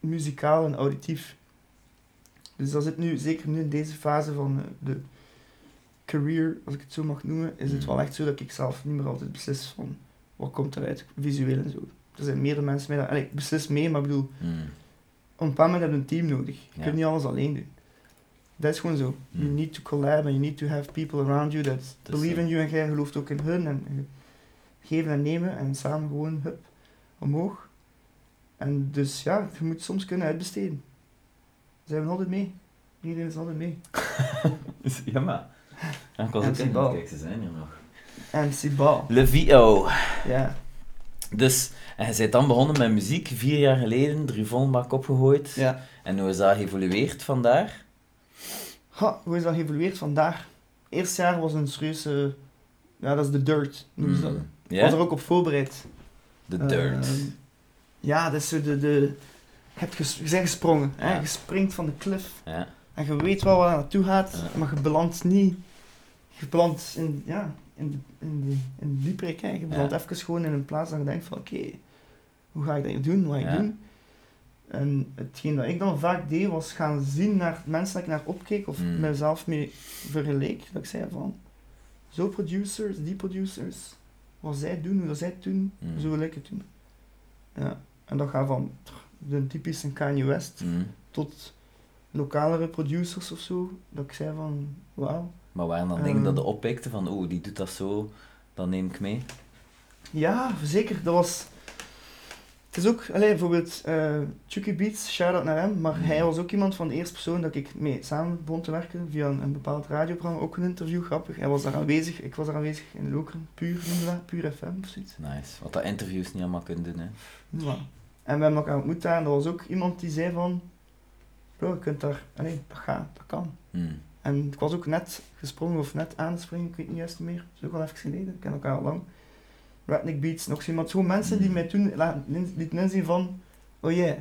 Speaker 1: muzikaal en auditief. Dus dat zit nu, zeker nu in deze fase van eh, de career, als ik het zo mag noemen, is het
Speaker 2: Mm.
Speaker 1: wel echt zo dat ik zelf niet meer altijd beslis van wat komt eruit, visueel en zo. Er zijn meerdere mensen mee, dat- allee, ik beslis mee, maar ik bedoel,
Speaker 2: hm.
Speaker 1: op een bepaald moment heb je een team nodig. Je
Speaker 2: Ja.
Speaker 1: kunt niet alles alleen doen. Dat is gewoon zo. You
Speaker 2: Mm.
Speaker 1: need to collab and you need to have people around you that
Speaker 2: Dat is
Speaker 1: believe
Speaker 2: zo.
Speaker 1: in you en jij gelooft ook in hun. En je geven en nemen en samen gewoon hup, omhoog. En dus ja, je moet soms kunnen uitbesteden. Zijn we altijd mee? Iedereen is altijd mee.
Speaker 2: Ja, maar. Ik was
Speaker 1: En
Speaker 2: ook
Speaker 1: Sibal.
Speaker 2: zeggen, kijk, ze zijn hier nog.
Speaker 1: En Sibal.
Speaker 2: Levito.
Speaker 1: Ja.
Speaker 2: Dus, en je bent dan begonnen met muziek, vier jaar geleden, Drivonbak opgegooid.
Speaker 1: Ja.
Speaker 2: En hoe is dat geëvolueerd vandaar?
Speaker 1: Ha, hoe is dat geëvolueerd vandaar? Eerste jaar was een serieuze... Ja, dat is de dirt, noemen ze dat.
Speaker 2: Mm.
Speaker 1: was
Speaker 2: Ja,
Speaker 1: er ook op voorbereid.
Speaker 2: de
Speaker 1: Eh,
Speaker 2: dirt.
Speaker 1: ja, dat is zo de... de je, hebt ges, je bent gesprongen. Hè?
Speaker 2: Ja.
Speaker 1: Je springt van de cliff.
Speaker 2: ja.
Speaker 1: En je weet wel waar je naartoe gaat,
Speaker 2: Ja.
Speaker 1: maar je belandt niet... Je belandt in, ja, in, in, die- in die prik. Hè? Je belandt
Speaker 2: Ja.
Speaker 1: even gewoon in een plaats dat je denkt van... Oké, hoe ga ik dat hier doen? Wat ga ik
Speaker 2: Ja.
Speaker 1: doen? En hetgeen dat ik dan vaak deed, was gaan zien naar mensen dat ik naar opkeek of
Speaker 2: Hmm.
Speaker 1: mezelf mee vergeleek. Dat ik zei van... Zo producers, die producers. Wat zij doen, hoe dat zij het doen,
Speaker 2: Hmm.
Speaker 1: zo wil ik het doen. Ja. En dat gaat van de typische Kanye West
Speaker 2: Mm.
Speaker 1: tot lokalere producers of zo, dat ik zei van, wauw.
Speaker 2: Maar waren dan dingen dat
Speaker 1: Ehm.
Speaker 2: je oppikte van, oeh, die doet dat zo, dan neem ik mee.
Speaker 1: Ja, zeker, dat was... Het is ook, allee, bijvoorbeeld eh Chucky Beats, shout-out naar hem, maar
Speaker 2: Mhm.
Speaker 1: hij was ook iemand van de eerste persoon dat ik mee samen begon te werken, via een, een bepaald radioprogramma, ook een interview, grappig. Hij was daar aanwezig, ik was daar aanwezig in Lokeren, puur, noemde dat, puur FM of zoiets.
Speaker 2: Nice. Wat dat interviews niet allemaal kunnen doen, hè.
Speaker 1: Ja. En we hebben elkaar ontmoet daar en dat was ook iemand die zei van, bro, je kunt daar, allee, dat gaat, dat kan.
Speaker 2: Mm.
Speaker 1: En ik was ook net gesprongen of net aan het springen, ik weet niet juist meer. Dat is ook al even geleden, ik ken elkaar al lang. Ratnik Beats, nog zo iemand. Gewoon mensen die
Speaker 2: Mm.
Speaker 1: mij toen laten- in- lieten inzien van, oh yeah,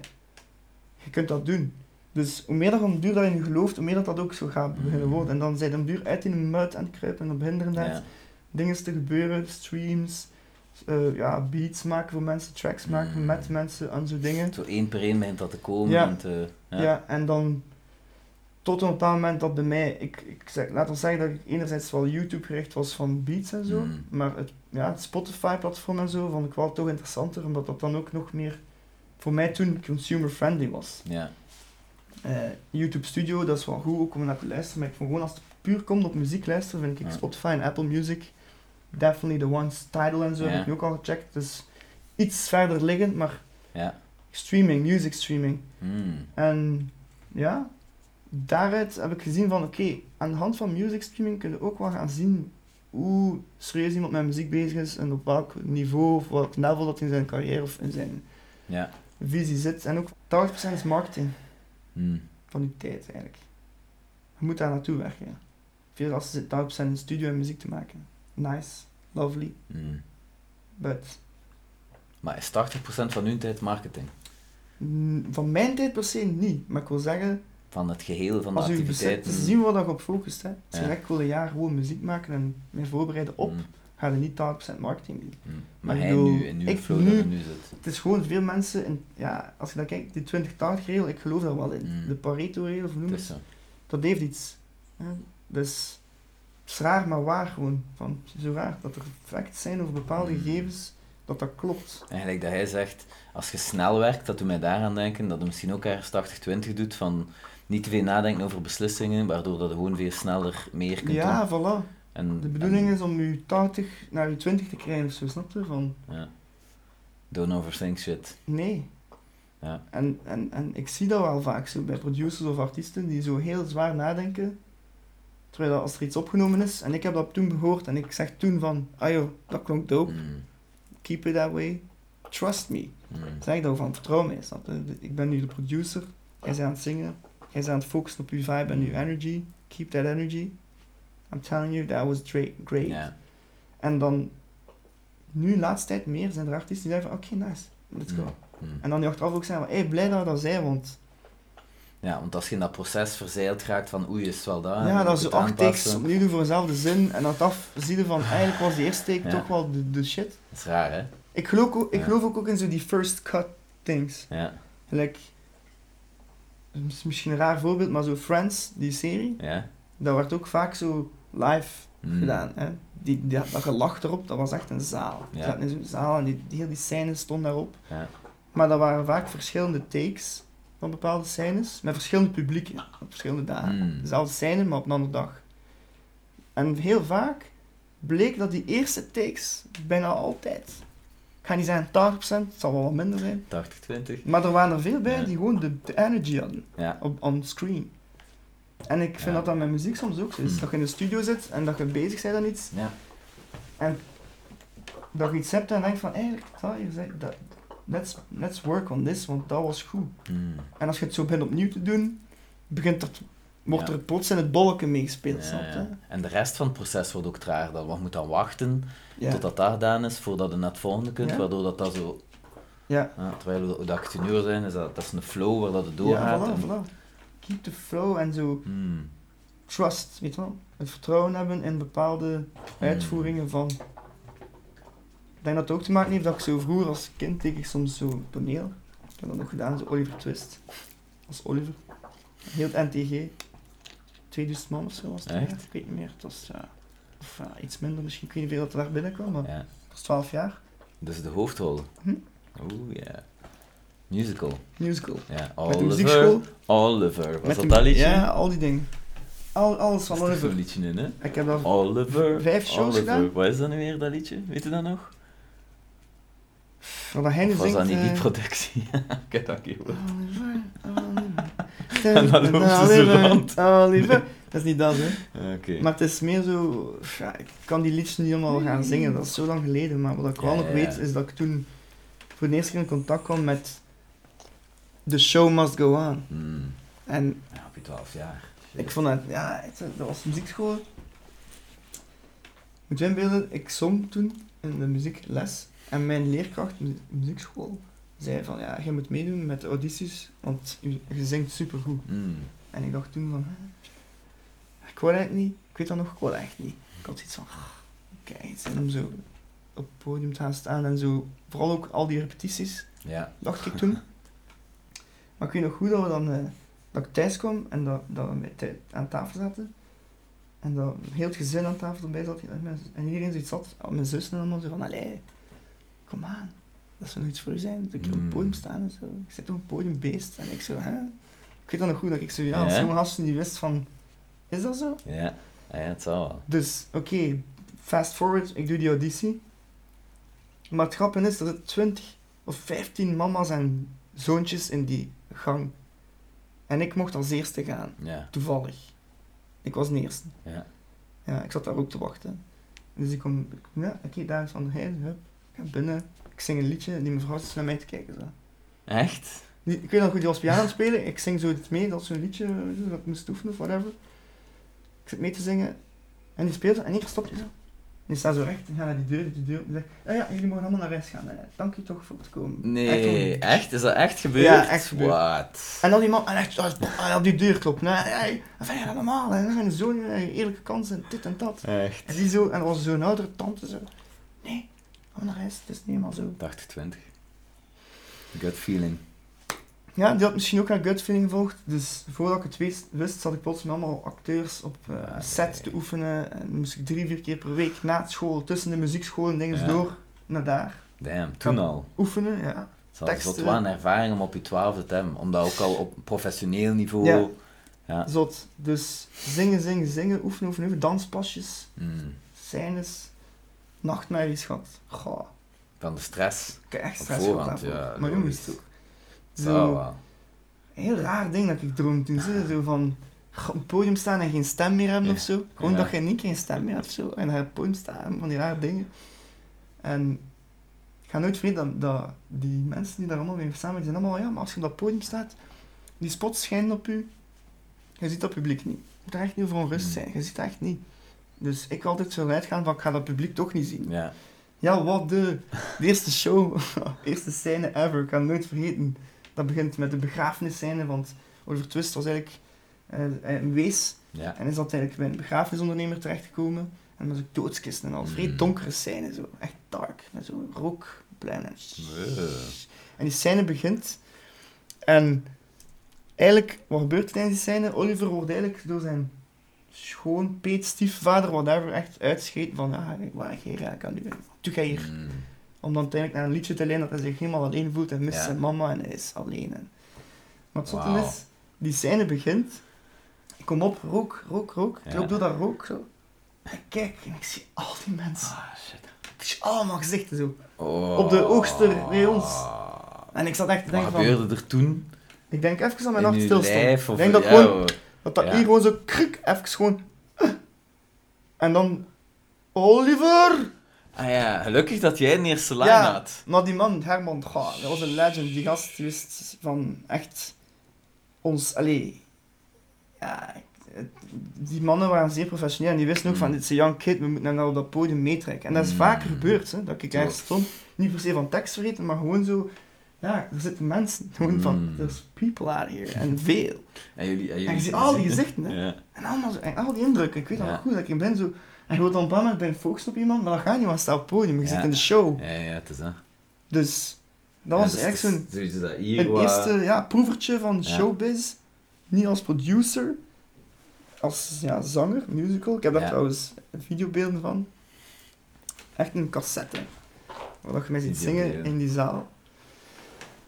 Speaker 1: je kunt dat doen. Dus hoe meer dat om duur dat je nu gelooft, hoe meer dat dat ook zo gaat beginnen
Speaker 2: Mm.
Speaker 1: worden. En dan zijn hem duur uit in de muid aan het kruipen en op hindernet
Speaker 2: Ja.
Speaker 1: dingen te gebeuren, streams, eh, ja, beats maken voor mensen, tracks maken
Speaker 2: Mm.
Speaker 1: met mensen en zo dingen.
Speaker 2: Zo één per één begint dat te komen.
Speaker 1: Ja.
Speaker 2: En te,
Speaker 1: Ja. en dan tot een bepaald moment dat bij mij, ik, ik zeg, laat ons zeggen dat ik enerzijds wel YouTube gericht was van beats en zo,
Speaker 2: Mm.
Speaker 1: maar het, ja, het Spotify-platform en zo vond ik wel toch interessanter, omdat dat dan ook nog meer voor mij toen consumer-friendly was.
Speaker 2: Ja.
Speaker 1: Eh, YouTube Studio, dat is wel goed ook om naar te luisteren, maar ik vond gewoon als het puur komt op muziek luisteren, vind ik
Speaker 2: Ja.
Speaker 1: Spotify en Apple Music definitely the ones, Tidal en zo
Speaker 2: Ja.
Speaker 1: heb ik nu ook al gecheckt, dus iets verder liggend, maar
Speaker 2: Ja.
Speaker 1: streaming, music streaming.
Speaker 2: Mm.
Speaker 1: En ja, daaruit heb ik gezien van oké, aan de hand van music streaming kun je ook wel gaan zien hoe serieus iemand met muziek bezig is en op welk niveau of welk level dat in zijn carrière of in zijn
Speaker 2: Ja.
Speaker 1: visie zit. En ook 80% is marketing
Speaker 2: Mm.
Speaker 1: van die tijd eigenlijk. Je moet daar naartoe werken. Veel als zit 80% in studio en muziek te maken. Nice, lovely,
Speaker 2: Mm.
Speaker 1: but
Speaker 2: Maar is 80% van hun tijd marketing?
Speaker 1: mm, van mijn tijd per se niet. Maar ik wil zeggen,
Speaker 2: Van het geheel van de
Speaker 1: Als u beseft,
Speaker 2: activiteiten?
Speaker 1: te zien waar dat je op focust. Hè. Als je
Speaker 2: Ja.
Speaker 1: zegt, ik wil een jaar gewoon muziek maken en mij voorbereiden op,
Speaker 2: Mm.
Speaker 1: ga je niet 80% marketing doen.
Speaker 2: Mm.
Speaker 1: Maar
Speaker 2: Maar
Speaker 1: ik
Speaker 2: hij
Speaker 1: bedoel,
Speaker 2: nu, in uw
Speaker 1: ik
Speaker 2: flow
Speaker 1: nu-
Speaker 2: dat hij nu zit.
Speaker 1: Het is gewoon veel mensen, in, ja, als je dan kijkt, die 20-80-regel, ik geloof daar wel in.
Speaker 2: Mm.
Speaker 1: De Pareto-regel, of noem
Speaker 2: Het
Speaker 1: het,
Speaker 2: is zo.
Speaker 1: dat heeft iets. Hè. Dus het is raar, maar waar gewoon. Van, zo raar dat er facts zijn over bepaalde
Speaker 2: Mm.
Speaker 1: gegevens, dat dat klopt.
Speaker 2: En gelijk dat hij zegt, als je snel werkt, dat doet mij daaraan denken dat hij misschien ook ergens 80-20 doet van niet te veel nadenken over beslissingen, waardoor dat je gewoon veel sneller meer kunt doen.
Speaker 1: Ja, voilà.
Speaker 2: En,
Speaker 1: De bedoeling
Speaker 2: en-
Speaker 1: is om je 80 naar je 20 te krijgen of zo, snap je? Van,
Speaker 2: Ja. Don't overthink shit.
Speaker 1: Nee.
Speaker 2: Ja.
Speaker 1: En, en, en ik zie dat wel vaak zo bij producers of artiesten die zo heel zwaar nadenken. Terwijl dat als er iets opgenomen is, en ik heb dat toen gehoord en ik zeg toen van, ah joh, dat klonk dope,
Speaker 2: Mm.
Speaker 1: keep it that way, trust me.
Speaker 2: Mm.
Speaker 1: Zeg dat van, vertrouw mij, snap je? eh, Ik ben nu de producer, jij bent aan het zingen, jij bent aan het focussen op je vibe en
Speaker 2: Mm.
Speaker 1: je energy, keep that energy. I'm telling you, that was dra- great.
Speaker 2: Ja.
Speaker 1: En dan, nu laatst tijd meer, zijn er artiesten die zeggen van, oké, nice, let's go.
Speaker 2: Mm.
Speaker 1: En dan die achteraf ook zijn van, hey, blij dat we dat zijn, want
Speaker 2: Ja, want als je in dat proces verzeild raakt van oei, is het wel dat?
Speaker 1: ja,
Speaker 2: en
Speaker 1: dat
Speaker 2: je
Speaker 1: is
Speaker 2: Ah, moet
Speaker 1: acht takes
Speaker 2: aanpassen.
Speaker 1: opnieuw doen voor dezelfde zin. En dat af zie je van, eigenlijk was die eerste take
Speaker 2: Ja.
Speaker 1: toch wel de, de shit.
Speaker 2: Dat is raar, hè?
Speaker 1: Ik geloof, ook- ik
Speaker 2: Ja.
Speaker 1: geloof ook, ook in zo die first cut things.
Speaker 2: Ja,
Speaker 1: Like, dat is misschien een raar voorbeeld, maar zo Friends, die serie,
Speaker 2: ja.
Speaker 1: dat werd ook vaak zo live
Speaker 2: Mm.
Speaker 1: gedaan. Hè? Die, die, dat gelach erop, dat was echt een zaal.
Speaker 2: Ja.
Speaker 1: Je zat in zo'n zaal en die, die hele die scène stond daarop.
Speaker 2: Ja.
Speaker 1: Maar dat waren vaak verschillende takes van bepaalde scènes, met verschillend publiek op verschillende dagen.
Speaker 2: Mm.
Speaker 1: Dezelfde scène, maar op een andere dag. En heel vaak bleek dat die eerste takes bijna altijd, ik ga niet zeggen 80%, het zal wel wat minder zijn,
Speaker 2: 80-20.
Speaker 1: maar er waren er veel bij
Speaker 2: Ja.
Speaker 1: die gewoon de, de energy hadden
Speaker 2: Ja.
Speaker 1: op on screen. En ik vind
Speaker 2: Ja.
Speaker 1: dat dat met muziek soms ook zo is.
Speaker 2: Mm.
Speaker 1: Dat je in de studio zit en dat je bezig bent aan iets
Speaker 2: Ja.
Speaker 1: en dat je iets hebt en denkt van, eigenlijk, dat hier zei, dat, let's, let's work on this, want dat was goed.
Speaker 2: Hmm.
Speaker 1: En als je het zo begint opnieuw te doen, begint er, wordt
Speaker 2: Ja.
Speaker 1: er plots in het bolletje meegespeeld,
Speaker 2: Ja,
Speaker 1: snap je?
Speaker 2: ja. En de rest van het proces wordt ook trager. Dan. Want je moet dan wachten
Speaker 1: Ja.
Speaker 2: totdat dat gedaan is, voordat je naar het volgende kunt,
Speaker 1: Ja.
Speaker 2: waardoor dat, dat zo...
Speaker 1: Ja.
Speaker 2: terwijl we dat 18 uur zijn, is dat, dat is een flow waar dat het
Speaker 1: Ja,
Speaker 2: doorgaat.
Speaker 1: voilà,
Speaker 2: en-
Speaker 1: voilà. Keep the flow en zo
Speaker 2: Hmm.
Speaker 1: trust, weet je wel. Het vertrouwen hebben in bepaalde uitvoeringen van... Ik denk dat het ook te maken heeft dat ik zo vroeger als kind keek ik soms zo toneel. Ik heb dat nog gedaan, zo Oliver Twist. Als Oliver. Heel het NTG. 2000 man of zo was het.
Speaker 2: Echt?
Speaker 1: ja, Ik weet niet meer. Het was ja, of, ja, iets minder misschien. Ik weet niet veel dat er daar binnenkwam, maar
Speaker 2: Ja.
Speaker 1: ik was 12 jaar.
Speaker 2: Dus de hoofdrol.
Speaker 1: Hm?
Speaker 2: Oeh, ja. Musical.
Speaker 1: Musical.
Speaker 2: Ja.
Speaker 1: Met de
Speaker 2: Oliver.
Speaker 1: muziekschool.
Speaker 2: Oliver. Was
Speaker 1: met
Speaker 2: dat
Speaker 1: de-
Speaker 2: dat liedje?
Speaker 1: Ja, al die dingen. Al,
Speaker 2: Dat
Speaker 1: alles van
Speaker 2: is Oh, toch zo'n
Speaker 1: Oliver.
Speaker 2: liedje in, hè?
Speaker 1: Ik heb dat
Speaker 2: Oliver.
Speaker 1: Vijf shows
Speaker 2: Oliver.
Speaker 1: gedaan?
Speaker 2: Wat is dat nu weer, dat liedje? Weet je dat nog?
Speaker 1: Wat hij nu
Speaker 2: Of was
Speaker 1: zingt...
Speaker 2: dat niet die
Speaker 1: eh,
Speaker 2: productie? Ik heb dat niet gehoord.
Speaker 1: Oliver, Oliver. Eh,
Speaker 2: En dan loopt ze zo
Speaker 1: Oliver,
Speaker 2: rond.
Speaker 1: Oliver. Dat is niet dat, hè.
Speaker 2: Oké.
Speaker 1: Maar het is meer zo... Ja, ik kan die liedjes niet allemaal gaan zingen, dat is zo lang geleden. Maar wat ik wel
Speaker 2: Ja,
Speaker 1: nog
Speaker 2: ja,
Speaker 1: weet,
Speaker 2: ja.
Speaker 1: is dat ik toen voor de eerste keer in contact kwam met... The show must go on.
Speaker 2: Hmm.
Speaker 1: En
Speaker 2: Ja, op je 12 jaar.
Speaker 1: ik vond het... Ja, het, dat was muziekschool. Moet je inbeelden, ik zong toen in de muziekles. En mijn leerkracht, mu- muziekschool, zei van... Ja, je moet meedoen met de audities, want je, je zingt supergoed.
Speaker 2: Hmm.
Speaker 1: En ik dacht toen van, hè, ik wou eigenlijk niet, ik weet dat nog, ik wou echt niet. Ik had iets van, kijk, het zin om zo op het podium te gaan staan en zo. Vooral ook al die repetities,
Speaker 2: Ja.
Speaker 1: dacht ik toen. Maar ik weet nog goed dat, we dan, eh, dat ik thuis kwam en dat, dat we met tij- aan tafel zaten. En dat heel het gezin aan tafel erbij zat. En mijn- En iedereen zoiets had, al mijn zus en allemaal zo van, allee, kom aan. Dat zou nog iets voor u zijn, dat ik hier op
Speaker 2: Mm.
Speaker 1: het podium staan en zo. Ik zit op een podiumbeest. En ik zo, hè? Ik weet dat nog goed, dat ik zo, ja, als
Speaker 2: Ja.
Speaker 1: zo'n gast die wist van, is dat zo?
Speaker 2: Ja. Ah, ja, het zal wel.
Speaker 1: Dus, oké, fast forward, ik doe die auditie. Maar het grappige is dat er 20 of 15 mama's en zoontjes in die gang. En ik mocht als eerste gaan,
Speaker 2: Ja.
Speaker 1: toevallig. Ik was de eerste.
Speaker 2: Ja.
Speaker 1: Ja, ik zat daar ook te wachten. Dus ik kom, ik- ja, oké, daar is Van der Heijden, hup. Ik ga binnen, ik zing een liedje en die mevrouw zit naar mij te kijken. Zo.
Speaker 2: Echt?
Speaker 1: Die- ik weet nog goed, die was piano aan het spelen. Ik zing zo dit mee, dat is zo'n liedje eh, dat ik moest oefenen of whatever. Ik zit mee te zingen. En die speelt dat, en één keer stopt hij zo. En die staat zo recht en gaat naar die deur, die deur. En die zegt, "Ah ja, ja, jullie mogen allemaal naar rechts gaan. Eh, dank je toch voor het komen.
Speaker 2: Nee,
Speaker 1: Echt,
Speaker 2: echt?
Speaker 1: om-
Speaker 2: Is dat echt gebeurd?
Speaker 1: Ja, echt gebeurd.
Speaker 2: Wat?
Speaker 1: En dan die man, en echt, ah, ah, op die deur kloppen. Nee, hey, wat vind je dat normaal? En dan zijn zo'n eh, eerlijke kans en dit en dat.
Speaker 2: Echt.
Speaker 1: En die zo, en er was zo'n oudere tante zo. Nee, allemaal naar rechts, het is niet helemaal zo.
Speaker 2: 80-20. Gut feeling.
Speaker 1: Ja, die had misschien ook haar gut feeling gevolgd. Dus voordat ik het wist, wist zat ik plots met allemaal acteurs op eh,
Speaker 2: Ah, oké.
Speaker 1: set te oefenen. En moest ik drie, vier keer per week na school, tussen de muziekschool en dingen
Speaker 2: Ja.
Speaker 1: door, naar daar.
Speaker 2: Damn, toen al.
Speaker 1: Oefenen, ja.
Speaker 2: Het zal
Speaker 1: Teksten.
Speaker 2: zot wel een ervaring om op je 12 te hebben. Om dat ook al op professioneel niveau...
Speaker 1: Ja.
Speaker 2: Ja.
Speaker 1: Zot. Dus zingen, zingen, zingen, oefenen, oefenen, oefenen. Danspasjes,
Speaker 2: Hmm.
Speaker 1: scènes, nachtmerries gehad. Goh,
Speaker 2: Van de stress.
Speaker 1: ik heb echt
Speaker 2: Op
Speaker 1: stress gehad
Speaker 2: voorhand, ja,
Speaker 1: daarvoor. Maar jongens,
Speaker 2: logisch. Oh,
Speaker 1: toch.
Speaker 2: Dat zal
Speaker 1: Zo,
Speaker 2: wel.
Speaker 1: een heel raar ding dat ik droom toen. Zo, zo van g- op het podium staan en geen stem meer hebben
Speaker 2: Ja.
Speaker 1: of zo. Gewoon
Speaker 2: Ja.
Speaker 1: dat je niet geen stem meer hebt of zo. En daar op het podium staan, van die rare dingen. En ik ga nooit vergeten dat, dat die mensen die daar allemaal mee samen zijn, allemaal ja, maar als je op dat podium staat, die spots schijnen op u. Je ziet dat publiek niet. Je moet daar echt niet over onrust
Speaker 2: Mm.
Speaker 1: zijn. Je ziet dat echt niet. Dus ik altijd zo uitgaan van ik ga dat publiek toch niet zien.
Speaker 2: Ja.
Speaker 1: Ja, wat de, de eerste show, eerste scène ever, ik kan het nooit vergeten. Dat begint met de begrafenisscène, want Oliver Twist was eigenlijk eh, een wees
Speaker 2: Ja.
Speaker 1: en is dat eigenlijk bij een begrafenisondernemer terechtgekomen. En dan was ook doodskisten en al, vrij
Speaker 2: Mm.
Speaker 1: donkere scène, zo, echt dark, met zo'n rookplein en
Speaker 2: Wow.
Speaker 1: en die scène begint. En eigenlijk, wat gebeurt er tijdens die scène? Oliver wordt eigenlijk door zijn schoonpeet, stiefvader, whatever, echt uitscheten van, ah, waar ga je eigenlijk aan doen? Doe jij hier?
Speaker 2: Hmm.
Speaker 1: Om dan uiteindelijk naar een liedje te leiden dat hij zich helemaal alleen voelt en mist
Speaker 2: Ja.
Speaker 1: zijn mama en hij is alleen. En... Maar het zotte
Speaker 2: Wauw.
Speaker 1: is, die scène begint. Ik kom op, rook, rook, rook. Ik
Speaker 2: Ja.
Speaker 1: loop door dat rook zo. En ik kijk en ik zie al die mensen.
Speaker 2: Ah, shit.
Speaker 1: Ik zie allemaal gezichten zo.
Speaker 2: Oh.
Speaker 1: Op de oogster bij ons. En ik zat echt te
Speaker 2: Wat
Speaker 1: denken van...
Speaker 2: gebeurde er toen?
Speaker 1: Ik denk even aan mijn
Speaker 2: in
Speaker 1: nacht
Speaker 2: uw
Speaker 1: stilstaan.
Speaker 2: lijf?
Speaker 1: Ik
Speaker 2: Of...
Speaker 1: denk dat
Speaker 2: ja,
Speaker 1: gewoon,
Speaker 2: hoor.
Speaker 1: dat dat
Speaker 2: Ja.
Speaker 1: hier gewoon zo eh. kruk, even gewoon... En dan... Oliver!
Speaker 2: Ah ja, gelukkig dat jij een eerste lijn
Speaker 1: Ja.
Speaker 2: had.
Speaker 1: Maar die man, Herman, goh, dat was een legend. Die gast die wist van echt ons, allee, ja, het- die mannen waren zeer professioneel en die wisten ook
Speaker 2: Mm.
Speaker 1: van, dit is een young kid, we moeten hem nou op dat podium meetrekken. En dat is
Speaker 2: Mm.
Speaker 1: vaker gebeurd, hè, dat ik
Speaker 2: Klopt.
Speaker 1: ergens stond, niet per se van tekst vergeten, maar gewoon zo, ja, er zitten mensen, gewoon van,
Speaker 2: Mm.
Speaker 1: there's people out here, en veel.
Speaker 2: En jullie, en jullie
Speaker 1: En je ziet al die gezichten, hè.
Speaker 2: Ja.
Speaker 1: En, allemaal zo, en al die indrukken, ik weet
Speaker 2: Ja.
Speaker 1: nog goed dat ik in ben zo, en je wordt dan bang, maar ik ben gefocust op iemand, maar dat gaat niet, want sta op het podium, je
Speaker 2: Ja.
Speaker 1: zit in de show.
Speaker 2: Ja, ja, het is dat.
Speaker 1: Dus dat was echt zo'n
Speaker 2: Zoiets dat eh, hier
Speaker 1: een
Speaker 2: wat-
Speaker 1: eerste ja, proevertje van
Speaker 2: Ja.
Speaker 1: showbiz. Niet als producer, als ja, zanger, musical. Ik heb daar
Speaker 2: Ja.
Speaker 1: trouwens videobeelden van. Echt een cassette. Waar dat je mij ziet zingen
Speaker 2: Videobeelden.
Speaker 1: in die zaal.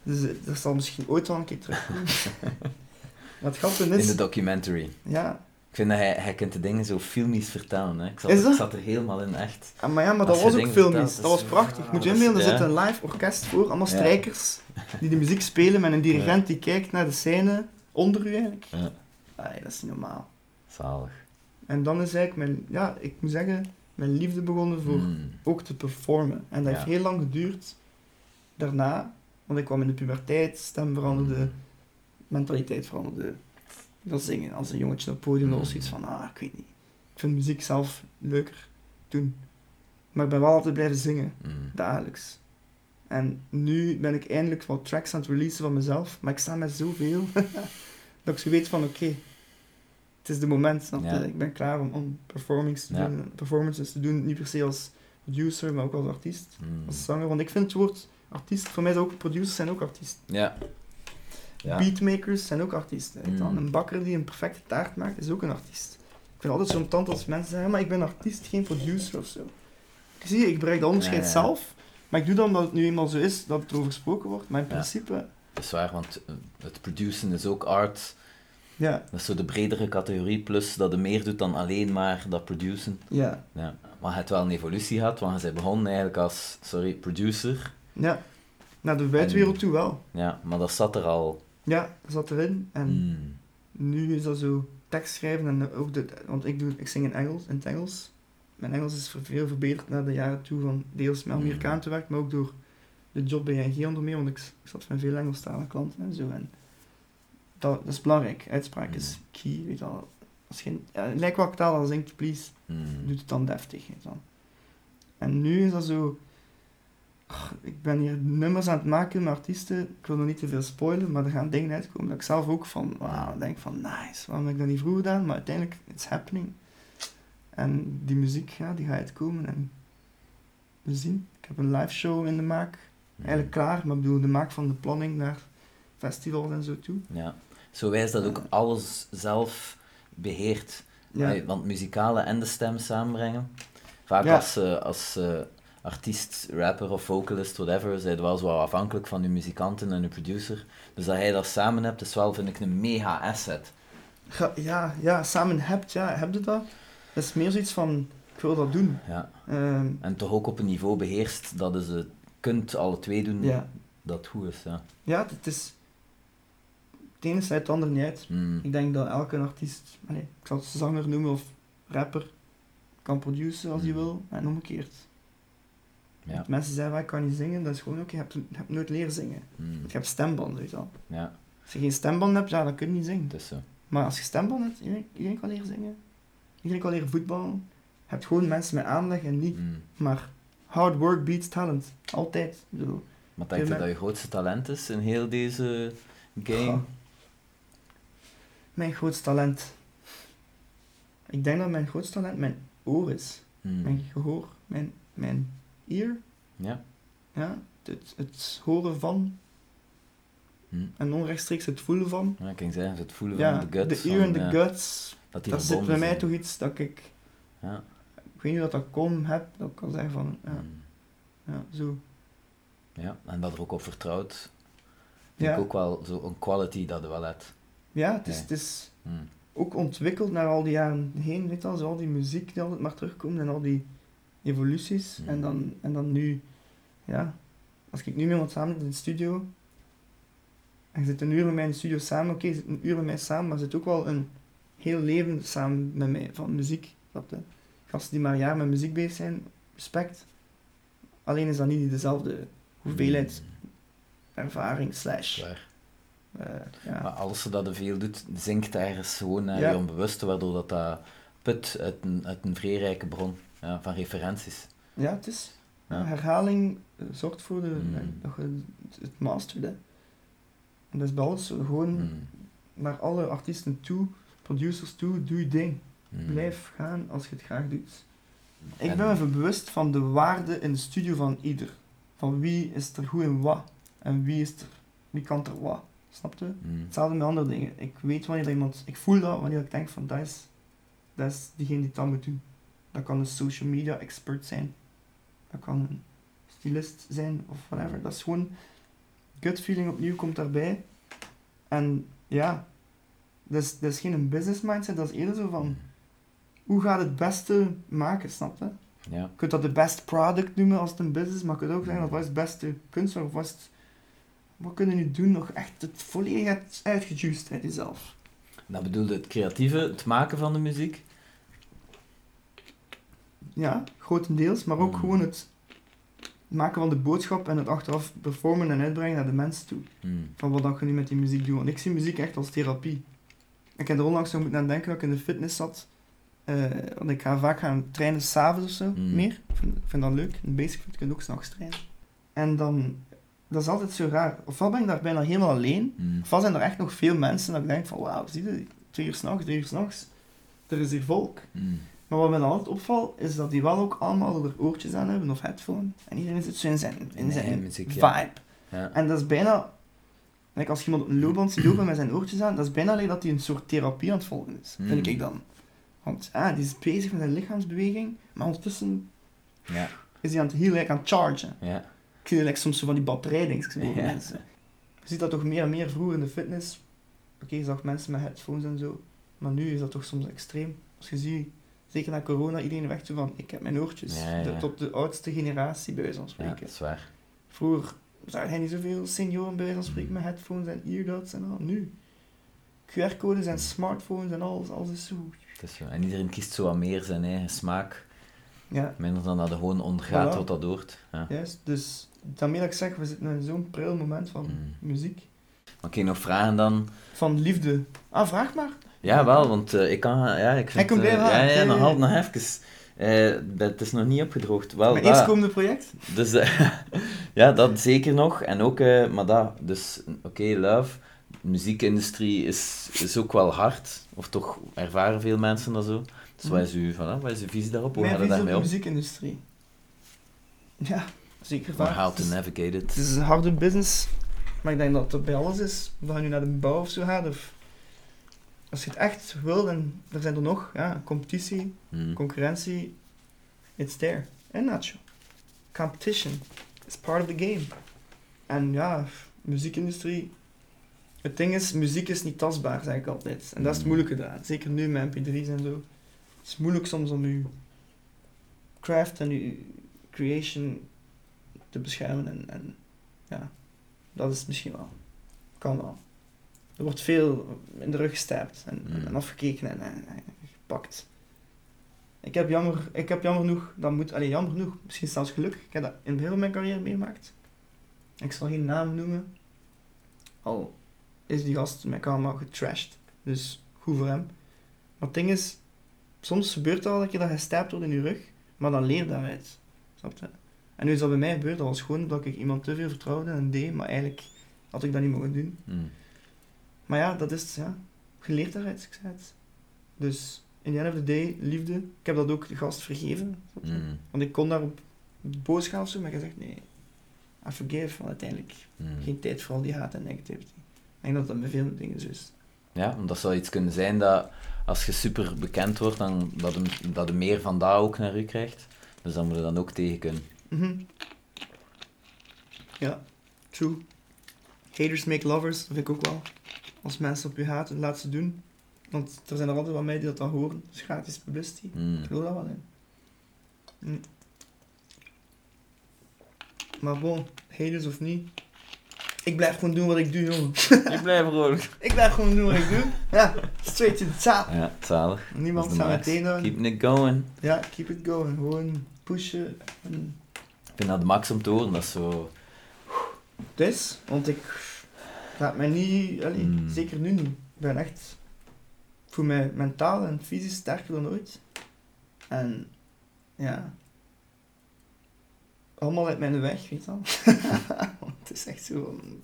Speaker 1: Dus eh, dat zal misschien ooit wel een keer terug. maar het grappige
Speaker 2: In
Speaker 1: is,
Speaker 2: de documentary.
Speaker 1: ja,
Speaker 2: Ik vind dat hij, hij kunt de dingen zo filmisch vertellen. Hè. Ik, zat,
Speaker 1: Is dat?
Speaker 2: ik zat er helemaal in, echt.
Speaker 1: Ah, maar ja, maar
Speaker 2: Als
Speaker 1: dat
Speaker 2: je
Speaker 1: was ook
Speaker 2: dingen
Speaker 1: filmisch.
Speaker 2: vertelt,
Speaker 1: Dat
Speaker 2: dat
Speaker 1: was
Speaker 2: is-
Speaker 1: prachtig.
Speaker 2: ah,
Speaker 1: Moet je
Speaker 2: dat is-
Speaker 1: inbeelden, er
Speaker 2: ja.
Speaker 1: zit een live orkest voor, allemaal
Speaker 2: Ja.
Speaker 1: strijkers die de muziek spelen met een dirigent die kijkt naar de scène onder u eigenlijk.
Speaker 2: Ja.
Speaker 1: Allee, dat is niet normaal.
Speaker 2: Zalig.
Speaker 1: En dan is eigenlijk mijn, ja, ik moet zeggen, mijn liefde begonnen voor
Speaker 2: Mm.
Speaker 1: ook te performen. En dat
Speaker 2: Ja.
Speaker 1: heeft heel lang geduurd daarna, want ik kwam in de puberteit, stem
Speaker 2: Mm.
Speaker 1: veranderde, mentaliteit veranderde. Dat zingen als een jongetje op het podium, dat was
Speaker 2: Mm.
Speaker 1: iets van, ah, ik weet niet. Ik vind muziek zelf leuker toen. Maar ik ben wel altijd blijven zingen,
Speaker 2: Mm.
Speaker 1: dagelijks. En nu ben ik eindelijk wat tracks aan het releasen van mezelf, maar ik sta met zoveel dat ik zo weet van, oké, het is de moment, snap je?
Speaker 2: Ja.
Speaker 1: Ik ben klaar om, om performings te
Speaker 2: Ja.
Speaker 1: doen, performances te doen, niet per se als producer, maar ook als artiest
Speaker 2: Mm.
Speaker 1: als zanger. Want ik vind het woord artiest, voor mij zijn ook producers zijn ook artiesten.
Speaker 2: Ja. Ja.
Speaker 1: Beatmakers zijn ook artiesten. weet je wel.
Speaker 2: Mm.
Speaker 1: Een bakker die een perfecte taart maakt, is ook een artiest. Ik vind het altijd zo'n tand als mensen zeggen, maar ik ben artiest, geen producer of zo. Ik zie, ik bereik dat onderscheid
Speaker 2: Ja, ja.
Speaker 1: zelf. Maar ik doe dat omdat het nu eenmaal zo is dat het over gesproken wordt. Maar in
Speaker 2: Ja.
Speaker 1: principe,
Speaker 2: Dat is waar, want eh, het produceren is ook art.
Speaker 1: ja.
Speaker 2: Dat is zo de bredere categorie, plus dat je meer doet dan alleen maar dat produceren.
Speaker 1: Ja.
Speaker 2: Ja. Maar je hebt wel een evolutie gehad, want je bent begonnen eigenlijk als, sorry, producer.
Speaker 1: ja. Naar de buitenwereld toe wel.
Speaker 2: Ja, maar dat zat er al.
Speaker 1: Ja, dat zat erin. En
Speaker 2: Mm.
Speaker 1: nu is dat zo tekst schrijven en ook de, want ik, doe, ik zing in Engels, in het Engels. Mijn Engels is ver- veel verbeterd naar de jaren toe van deels met
Speaker 2: Mhm.
Speaker 1: Amerikaan te werken, maar ook door de job bij ING onder meer, want ik, s- ik zat met veel Engelstalige klanten en zo. En dat, dat is belangrijk, uitspraak is key, weet je wel. Als je, ja, lijkt welke taal dan zingt, please,
Speaker 2: Mm.
Speaker 1: doet het dan deftig. Weet je wel. En nu is dat zo... ah, Ik ben hier nummers aan het maken met artiesten. Ik wil nog niet te veel spoilen, maar er gaan dingen uitkomen dat ik zelf ook van... Wauw, denk van nice, waarom heb ik dat niet vroeger gedaan? Maar uiteindelijk, it's happening. En die muziek, ja, die gaat uitkomen en we zien. Ik heb een live show in de maak.
Speaker 2: mm.
Speaker 1: Eigenlijk
Speaker 2: Mhm.
Speaker 1: klaar, maar ik bedoel, de maak van de planning naar festivals en zo toe.
Speaker 2: Ja. Zo wijst dat ook alles zelf beheert.
Speaker 1: Ja,
Speaker 2: Allee, Want muzikale en de stem samenbrengen. Vaak
Speaker 1: Ja.
Speaker 2: als, eh, als eh, artiest, rapper of vocalist, whatever, zijn wel zo afhankelijk van je muzikanten en je producer. Dus dat hij dat samen hebt, is wel, vind ik, een mega asset.
Speaker 1: Ga- ja, ja samen hebt, ja, heb je dat? Dat is meer zoiets van, ik wil dat doen.
Speaker 2: Ja.
Speaker 1: Ehm,
Speaker 2: En toch ook op een niveau beheerst dat je ze kunt alle twee doen
Speaker 1: Ja,
Speaker 2: dat goed is. Ja.
Speaker 1: ja het is. Het ene sluit het ander niet uit.
Speaker 2: Mm.
Speaker 1: Ik denk dat elke artiest, allee, ik zal het zanger noemen of rapper, kan produceren als hij
Speaker 2: Mhm.
Speaker 1: wil en omgekeerd.
Speaker 2: Ja.
Speaker 1: Want Mensen zeggen, "Ah, ik kan niet zingen, dat is gewoon ook, je hebt, je hebt nooit leren zingen.
Speaker 2: Mm.
Speaker 1: Want je hebt stembanden, weet je wel.
Speaker 2: ja,
Speaker 1: Als je geen stembanden hebt, ja, dan kun je niet zingen.
Speaker 2: het is zo.
Speaker 1: Maar als je stembanden hebt, iedereen, iedereen kan leren zingen, iedereen kan leren voetballen. Je hebt gewoon mensen met aanleg en niet,
Speaker 2: Mm.
Speaker 1: maar hard work beats talent. Altijd. Ik bedoel,
Speaker 2: Maar denk je
Speaker 1: maar-
Speaker 2: dat je grootste talent is in heel deze game?
Speaker 1: Goh. Mijn grootste talent. Ik denk dat mijn grootste talent mijn oor is.
Speaker 2: Mm.
Speaker 1: Mijn gehoor, mijn, mijn ear.
Speaker 2: Ja.
Speaker 1: Ja? Het, het horen van
Speaker 2: Mm.
Speaker 1: en onrechtstreeks het voelen van.
Speaker 2: Ja, ik kan zeggen, het voelen
Speaker 1: ja,
Speaker 2: van de gut.
Speaker 1: ear en
Speaker 2: van,
Speaker 1: de
Speaker 2: ja,
Speaker 1: guts.
Speaker 2: Dat die
Speaker 1: Dat zit bij
Speaker 2: verbonden
Speaker 1: mij
Speaker 2: zijn.
Speaker 1: toch iets dat ik,
Speaker 2: Ja.
Speaker 1: ik weet niet dat dat kom heb, dat ik kan zeggen van, ja,
Speaker 2: Mm.
Speaker 1: ja zo.
Speaker 2: ja, en dat er ook op vertrouwt. Vind
Speaker 1: Ja,
Speaker 2: ik ook wel zo'n quality dat je wel hebt.
Speaker 1: ja het, is,
Speaker 2: Ja.
Speaker 1: het is
Speaker 2: Mm.
Speaker 1: ook ontwikkeld naar al die jaren heen, weet je wel, zo al die muziek die altijd maar terugkomt en al die evoluties.
Speaker 2: Mhm.
Speaker 1: En, dan, en dan nu, ja, als ik nu met iemand samen zit in de studio, en je zit een uur met mij in de studio samen, oké, je zit een uur met mij samen, maar er zit ook wel een heel leven samen met mij van muziek. Snap je? Gasten die maar een jaar met muziek bezig zijn, respect. Alleen is dat niet dezelfde
Speaker 2: Mm.
Speaker 1: hoeveelheid ervaring slash...
Speaker 4: Zwaar.
Speaker 1: eh, ja.
Speaker 2: Maar alles zodat hij veel doet, zinkt ergens gewoon naar
Speaker 1: Ja.
Speaker 2: je onbewuste, waardoor dat, dat put uit een, uit een vrij rijke bron ja, van referenties.
Speaker 1: ja, het is...
Speaker 2: Ja.
Speaker 1: Herhaling eh, zorgt voor de,
Speaker 2: Mm.
Speaker 1: dat je het- het mastert. hè. En dat is bij alles zo, gewoon
Speaker 2: Mm.
Speaker 1: naar alle artiesten toe, producers toe, doe je ding.
Speaker 2: Mm.
Speaker 1: Blijf gaan als je het graag doet. Ik
Speaker 2: En- Mm.
Speaker 1: ben me even bewust van de waarde in de studio van ieder. Van wie is er goed in wat en wie is er, wie kan er wat. Snap je?
Speaker 2: Mm.
Speaker 1: Hetzelfde met andere dingen. Ik weet wanneer dat iemand, ik voel dat wanneer ik denk van dat is, dat is diegene die dat moet doen. Dat kan een social media expert zijn. Dat kan een stylist zijn of whatever. Dat is gewoon gut feeling opnieuw komt daarbij. En ja, dat is, dat is geen een business mindset, dat is eerder zo van hoe gaat het beste maken, snap je?
Speaker 2: Ja.
Speaker 1: Je kunt dat de best product noemen als het een business, maar je kunt ook zeggen dat wat is het beste kunstwerk of wat is het- Wat kunnen nu doen nog echt het volledig uit- uitgejuiced uit jezelf?
Speaker 2: Dat bedoelde het creatieve, het maken van de muziek.
Speaker 1: Ja, grotendeels, maar ook
Speaker 2: Mm.
Speaker 1: gewoon het maken van de boodschap en het achteraf performen en uitbrengen naar de mensen toe.
Speaker 2: Mm.
Speaker 1: Van wat dat je nu met die muziek doet. Want ik zie muziek echt als therapie. Ik heb er onlangs zo moeten aan denken dat ik in de fitness zat. eh, want ik ga vaak gaan trainen s'avonds of zo,
Speaker 2: Mm.
Speaker 1: meer. Ik vind, ik vind dat leuk. In basic fit kun je ook s'nachts trainen. En dan, dat is altijd zo raar. Ofwel ben ik daar bijna helemaal alleen.
Speaker 2: Mm.
Speaker 1: Ofwel zijn er echt nog veel mensen dat ik denk van, wauw, zie je, twee uur s'nachts, drie uur s'nachts. Er is hier volk.
Speaker 2: Mm.
Speaker 1: Maar wat me dan altijd opvalt, is dat die wel ook allemaal er oortjes aan hebben of headphone. En iedereen zit zo in zijn, in
Speaker 2: Nee,
Speaker 1: zijn
Speaker 2: muziek,
Speaker 1: vibe.
Speaker 2: ja. Ja.
Speaker 1: En dat is bijna... like, als je iemand op een loopband ziet lopen met zijn oortjes aan, dat is bijna alleen dat hij een soort therapie aan het volgen is.
Speaker 2: Mm.
Speaker 1: Vind ik dan. Want ah, die is bezig met zijn lichaamsbeweging, maar ondertussen
Speaker 2: Ja.
Speaker 1: is hij aan het heel like, aan het chargen.
Speaker 2: Ja.
Speaker 1: Ik zie like, soms zo van die batterijdenks boven
Speaker 2: Ja.
Speaker 1: mensen. Je ziet dat toch meer en meer vroeger in de fitness. Oké, je zag mensen met headphones en zo. Maar nu is dat toch soms extreem. Als je ziet, zeker na corona, iedereen weg toe van ik heb mijn oortjes.
Speaker 2: Ja, ja.
Speaker 1: De- tot de oudste generatie bij wijze van
Speaker 2: ja,
Speaker 1: spreken.
Speaker 2: dat is waar.
Speaker 1: Vroeger zagen hij niet zoveel senioren bij wijze van spreken met headphones en earbuds en al. Nu, QR-codes en smartphones en alles, alles is zo.
Speaker 2: Het is zo. En iedereen kiest zo wat meer zijn eigen smaak,
Speaker 1: Ja,
Speaker 2: minder dan dat hij gewoon ondergaat
Speaker 1: Voilà.
Speaker 2: wat dat hoort. Ja.
Speaker 1: juist. Dus daarmee dat ik zeg, we zitten in zo'n pril moment van
Speaker 2: Mm.
Speaker 1: muziek.
Speaker 2: Oké, nog vragen dan?
Speaker 1: Van liefde. Ah, vraag maar.
Speaker 2: Ja, wel, want eh, ik kan... Ja, ik vind,
Speaker 1: komt
Speaker 2: eh,
Speaker 1: weer aan,
Speaker 2: Ja, ja,
Speaker 1: oké.
Speaker 2: nog, half, nog even. Eh, dat is nog niet opgedroogd. Wel,
Speaker 1: Mijn
Speaker 2: dat-
Speaker 1: eerstkomende project.
Speaker 2: Dus eh, ja, dat zeker nog. En ook, eh, maar dat, dus oké, love. De muziekindustrie is, is ook wel hard. Of toch ervaren veel mensen dat zo. Dus wat is uw, voilà, wat is uw visie daarop? Hoe
Speaker 1: Mijn
Speaker 2: gaat het
Speaker 1: visie op
Speaker 2: daarmee
Speaker 1: de
Speaker 2: om?
Speaker 1: muziekindustrie. Ja, zeker
Speaker 2: Hoe
Speaker 1: vaak.
Speaker 2: how to
Speaker 1: Het is-
Speaker 2: navigate
Speaker 1: Het
Speaker 2: it?
Speaker 1: is een harde business, maar ik denk dat dat bij alles is. Of dat je nu naar de bouw of zo gaat, of... Als je het echt wil, dan er zijn er nog, ja, competitie,
Speaker 2: Hmm.
Speaker 1: concurrentie, it's there. En Nacho. Competition is part of the game. En ja, muziekindustrie. Het ding is, muziek is niet tastbaar, zeg ik altijd. En dat is het
Speaker 2: Mm.
Speaker 1: moeilijke daar. Zeker nu met mp3's en zo. Het is moeilijk soms om je craft en je creation te beschermen. En, en ja, dat is het misschien wel. Kan wel. Er wordt veel in de rug gestapt en,
Speaker 2: Mm.
Speaker 1: en afgekeken en, en- en gepakt. Ik heb jammer, ik heb jammer genoeg, dat moet, allee, jammer genoeg, misschien zelfs gelukkig, ik heb dat in heel mijn carrière meegemaakt. Ik zal geen naam noemen, al is die gast met karma getrashed, dus goed voor hem. Maar het ding is, soms gebeurt dat dat je dat gestapt wordt in je rug, maar dan leer je daaruit. Snap je? En nu is dat bij mij gebeurd, dat was gewoon dat ik iemand te veel vertrouwde en deed, maar eigenlijk had ik dat niet mogen doen.
Speaker 2: Hmm.
Speaker 1: Maar ja, dat is, ja, geleerd daaruit, ik zei het. Dus, in the end of the day, liefde. Ik heb dat ook de gast vergeven.
Speaker 2: Hmm.
Speaker 1: Want ik kon daarop boos gaan of zo, maar ik heb gezegd, nee, I forgive, want uiteindelijk
Speaker 2: Hmm.
Speaker 1: geen tijd voor al die haat en negativity. Ik denk dat dat bij veel dingen zo is.
Speaker 2: Ja, want dat zou iets kunnen zijn dat als je super bekend wordt, dan, dat, hem, dat hem meer van daar ook naar u krijgt. Dus dan moet je dan ook tegen kunnen.
Speaker 1: Mhm. Ja, true. Haters make lovers, dat vind ik ook wel. Als mensen op je haten, laat ze doen. Want er zijn er altijd wel mij die dat dan horen. Dus gratis publicity.
Speaker 2: Hmm.
Speaker 1: Ik geloof dat wel in. Mm. Maar bon, haters of niet. Ik blijf gewoon doen wat ik doe, jongen.
Speaker 2: Ik blijf rolig.
Speaker 1: Ik blijf gewoon doen wat ik doe. Ja, straight to the top.
Speaker 2: Ja, zalig. Dat
Speaker 1: Niemand
Speaker 2: is de
Speaker 1: zal
Speaker 2: max.
Speaker 1: meteen doen.
Speaker 2: Keep it going.
Speaker 1: Ja, keep it going. Gewoon pushen. En
Speaker 2: vind dat de max om te horen. Dat is zo...
Speaker 1: Dus, want ik laat mij niet, allee,
Speaker 2: Mm.
Speaker 1: zeker nu niet. Ik ben echt, ik voel mij mentaal en fysisch sterker dan ooit. En, ja. Allemaal uit mijn weg, weet je wel. Want het is echt zo van...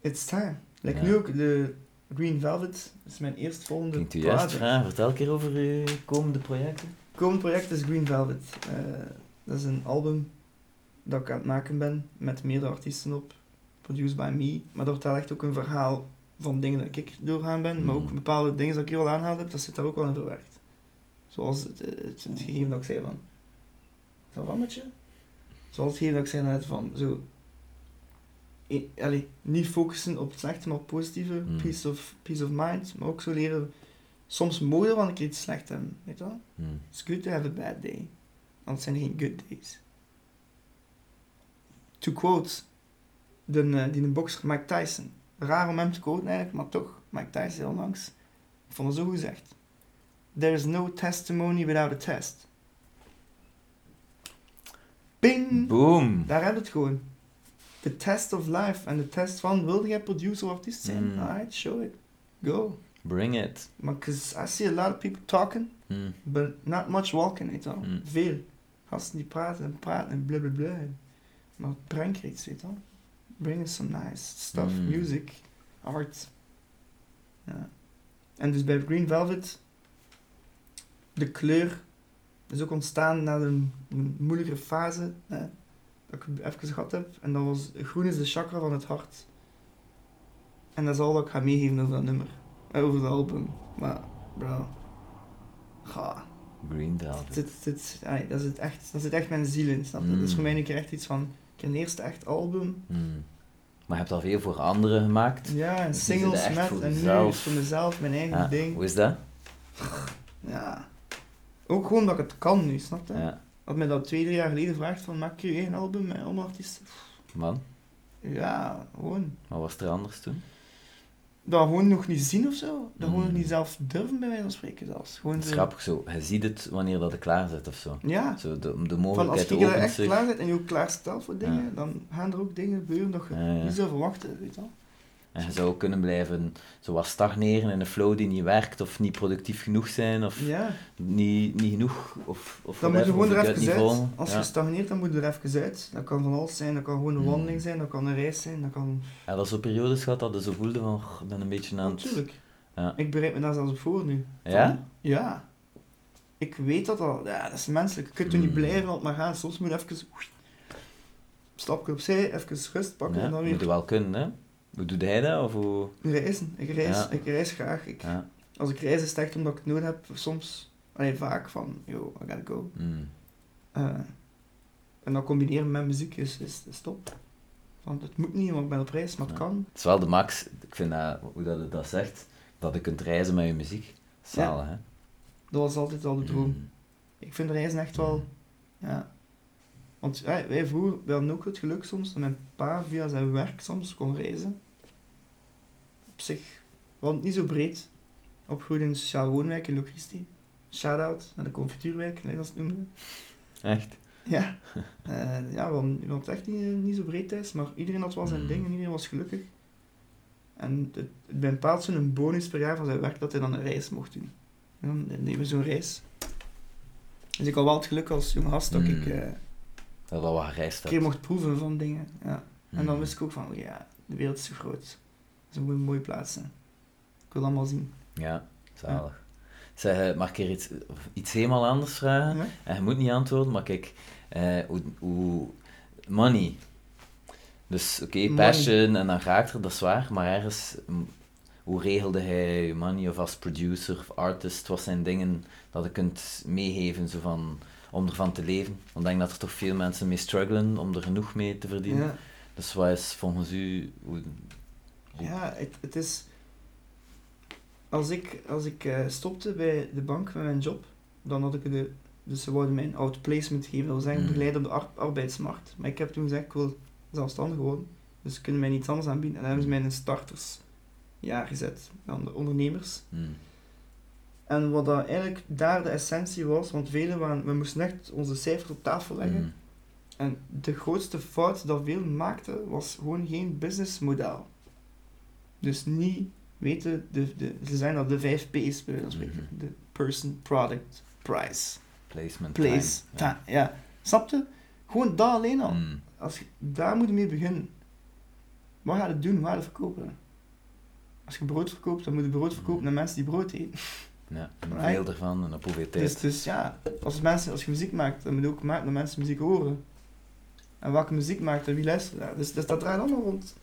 Speaker 1: It's time. Like
Speaker 2: Ja.
Speaker 1: nu ook, de Green Velvet is mijn eerstvolgende
Speaker 2: Klinkt u
Speaker 1: plaat,
Speaker 2: juist,
Speaker 1: hè.
Speaker 2: Vraag, Vertel een keer over uw komende projecten.
Speaker 1: komend project is Green Velvet. Eh, dat is een album dat ik aan het maken ben met meerdere artiesten op. Produced by me. Maar daar vertel echt ook een verhaal van dingen dat ik doorgaan ben. Maar ook
Speaker 2: Mhm.
Speaker 1: bepaalde dingen dat ik hier al aanhaald heb, dat zit daar ook wel in verwerkt. Zoals het, eh, het, het gegeven dat ik zei van... Is dat wat met je? Zoals het gegeven dat ik zei net van... Zo, i- allee, niet focussen op het slechte, maar op het positieve.
Speaker 2: Mhm.
Speaker 1: Peace, of, peace of mind. Maar ook zo leren... Soms mogen want ik iets slecht heb. Weet je wel?
Speaker 2: Hmm.
Speaker 1: It's good to have a bad day. Anders zijn er geen good days. To quote de, eh, die de bokser Mike Tyson. Raar om hem te quoten eigenlijk, maar toch. Mike Tyson heel langs. Ik vond het zo goed gezegd. There is no testimony without a test. Ping!
Speaker 2: Boom!
Speaker 1: Daar heb je het gewoon. The test of life. En de test van, wil jij producer of artiest zijn?
Speaker 2: Mm.
Speaker 1: Alright, show it. Go.
Speaker 2: Bring it.
Speaker 1: Maar 'cause I see a lot of people talking.
Speaker 2: Hmm.
Speaker 1: But not much walking, weet je wel.
Speaker 2: Mm.
Speaker 1: Veel. Gasten die praten en praten en blablabla. Maar breng er iets, weet je wel. Bring us some nice stuff.
Speaker 2: Mm.
Speaker 1: Music, art. Ja. En dus bij Green Velvet, de kleur is ook ontstaan na een, een moeilijkere fase. Hè, dat ik even gehad heb. En dat was, groen is de chakra van het hart. En dat is al wat ik ga meegeven over dat nummer. Eh, Over dat album. Maar, bro. Ga.
Speaker 2: Green Velvet.
Speaker 1: Dit, dit, ai, dat, zit echt, dat zit echt mijn ziel in, snap je? Dat is
Speaker 2: Mm.
Speaker 1: voor mij een keer echt iets van... Ik heb een eerste echt album.
Speaker 2: Hmm. Maar je hebt al veel voor anderen gemaakt.
Speaker 1: Ja, en
Speaker 2: Dus die
Speaker 1: singles
Speaker 2: zitten echt
Speaker 1: met.
Speaker 2: voor
Speaker 1: En nu
Speaker 2: jezelf.
Speaker 1: is voor mezelf mijn eigen
Speaker 2: Ja,
Speaker 1: ding.
Speaker 2: Hoe is dat?
Speaker 1: Ja. Ook gewoon dat ik het kan nu, snap je?
Speaker 2: Ja.
Speaker 1: Had mij dat twee, drie jaar geleden vraagt van... Maak je één album met allemaal artiesten?
Speaker 2: Man,
Speaker 1: Ja, gewoon.
Speaker 2: wat was er anders toen?
Speaker 1: Dat gewoon nog niet zien of zo. Dat gewoon
Speaker 2: Mm.
Speaker 1: nog niet zelf durven, bij wijze van spreken zelfs. Gewoon
Speaker 2: Het is
Speaker 1: zo-
Speaker 2: grappig zo. Je ziet het wanneer dat je klaar zit of zo.
Speaker 1: Ja.
Speaker 2: Zo de, de
Speaker 1: Van als
Speaker 2: mogelijkheid
Speaker 1: je er
Speaker 2: opent
Speaker 1: echt
Speaker 2: zich.
Speaker 1: klaar bent en je ook klaarstelt voor dingen,
Speaker 2: Ja.
Speaker 1: dan gaan er ook dingen gebeuren dat je
Speaker 2: Ja, ja.
Speaker 1: niet zou verwachten, weet je wel.
Speaker 2: En je zou kunnen blijven zoals stagneren in een flow die niet werkt, of niet productief genoeg zijn, of
Speaker 1: Ja.
Speaker 2: niet, niet genoeg, of, of
Speaker 1: Dan moet
Speaker 2: whatever,
Speaker 1: je gewoon
Speaker 2: of ik
Speaker 1: er
Speaker 2: uit
Speaker 1: even
Speaker 2: niet
Speaker 1: uit.
Speaker 2: vol.
Speaker 1: Als
Speaker 2: Ja.
Speaker 1: je stagneert, dan moet je er even uit. Dat kan van alles zijn. Dat kan gewoon een
Speaker 2: Hmm.
Speaker 1: wandeling zijn. Dat kan een reis zijn. Dat kan...
Speaker 2: En dat zo periodes gehad dat je zo voelde van, "Goh, ik ben een beetje aan het...
Speaker 1: Natuurlijk.
Speaker 2: Ja.
Speaker 1: Ik bereid me daar zelfs op voor nu.
Speaker 2: Ja?
Speaker 1: Ja. Ik weet dat al. Ja, dat is menselijk. Je kunt er niet
Speaker 2: Hmm.
Speaker 1: blijven altijd maar gaan. Soms moet je even... Stapje opzij, even rust pakken
Speaker 2: ja?
Speaker 1: en dan
Speaker 2: Moet je
Speaker 1: weer
Speaker 2: wel kunnen, hè? Hoe doet hij dat? Of hoe...
Speaker 1: reizen. Ik reis,
Speaker 2: Ja.
Speaker 1: ik reis graag. Ik,
Speaker 2: Ja.
Speaker 1: Als ik reis is het echt omdat ik het nodig heb. Soms, allee, vaak van, yo, I gotta go.
Speaker 2: Mm.
Speaker 1: Eh, en dan combineren met muziek is, is, is top. Want het moet niet, want ik ben op reis, maar het
Speaker 2: Ja.
Speaker 1: kan.
Speaker 2: Het is wel de max, ik vind dat, hoe dat het dat zegt, dat je kunt reizen met je muziek. Zalig, hè?
Speaker 1: Dat was altijd al de droom.
Speaker 2: Mm.
Speaker 1: Ik vind reizen echt wel, ja. Want ja, wij vroeger, we hadden ook het geluk soms dat mijn pa via zijn werk soms kon reizen. Op zich, want niet zo breed. Opgegroeid in een sociaal woonwijk in Locristi. Shout-out naar de confituurwijk, nee, dat noemde.
Speaker 2: Echt?
Speaker 1: Ja, Eh, ja want, want echt niet, niet zo breed thuis, maar iedereen had wel zijn
Speaker 2: Mhm.
Speaker 1: ding en iedereen was gelukkig. En het, het, bij een paal zo'n een bonus per jaar van zijn werk dat hij dan een reis mocht doen. En dan nemen we zo'n reis. Dus ik had wel het geluk als jong gast dat ik
Speaker 2: Mhm.
Speaker 1: eh,
Speaker 2: Dat dat wat gereisd
Speaker 1: een
Speaker 2: hebt.
Speaker 1: keer mocht proeven van dingen. Ja. En dan
Speaker 2: Mm.
Speaker 1: wist ik ook van, oh ja, de wereld is zo groot. Ze moeten mooie plaatsen. Ik wil dat allemaal zien.
Speaker 2: Ja, zalig. Zeg, eh, mag ik hier iets, iets helemaal anders vragen?
Speaker 1: Ja?
Speaker 2: En je moet niet antwoorden, maar kijk, eh, hoe, hoe- money. Dus oké,
Speaker 1: Money.
Speaker 2: passion en dan raakt er, dat is waar, maar ergens, mm, hoe regelde hij je money of als producer of artist? Wat zijn dingen dat je kunt meegeven zo van, om ervan te leven? Want ik denk dat er toch veel mensen mee struggelen om er genoeg mee te verdienen.
Speaker 1: Ja.
Speaker 2: Dus wat is volgens u, hoe,
Speaker 1: Ja, het, het is. Als ik, als ik eh, stopte bij de bank met mijn job, dan had ik de. Dus ze wouden mij een outplacement geven, dat wil zeggen
Speaker 2: Mm.
Speaker 1: begeleiden op de ar- arbeidsmarkt. Maar ik heb toen gezegd, ik wil zelfstandig worden, dus ze kunnen mij niets anders
Speaker 2: mm,
Speaker 1: aanbieden. En dan hebben ze mij in een startersjaar gezet, dan de ondernemers.
Speaker 2: Hmm,
Speaker 1: En wat dat eigenlijk daar de essentie was, want velen waren, we moesten echt onze cijfers op tafel leggen.
Speaker 2: Mm.
Speaker 1: En de grootste fout dat veel maakten, was gewoon geen businessmodel. Dus niet weten, de, de, ze zijn dat de 5 P's bij wijze van spreken.
Speaker 2: Mhm.
Speaker 1: De person, product, price,
Speaker 2: Placement
Speaker 1: place,
Speaker 2: time.
Speaker 1: time. Ja. Snap je? Gewoon dat alleen al.
Speaker 2: Mm.
Speaker 1: Als, je- daar moet je mee beginnen. Wat gaat het doen? Waar gaat het verkopen? Als je brood verkoopt, dan moet je brood verkopen
Speaker 2: Mhm.
Speaker 1: aan mensen die brood eten.
Speaker 2: Ja, en
Speaker 1: Right.
Speaker 2: veel ervan en op hoeveel tijd.
Speaker 1: Dus, dus ja, als, mensen, als je muziek maakt, dan moet je ook maken dat mensen muziek horen. En welke muziek maakt en wie luistert daar. Dus, dus dat draait allemaal rond.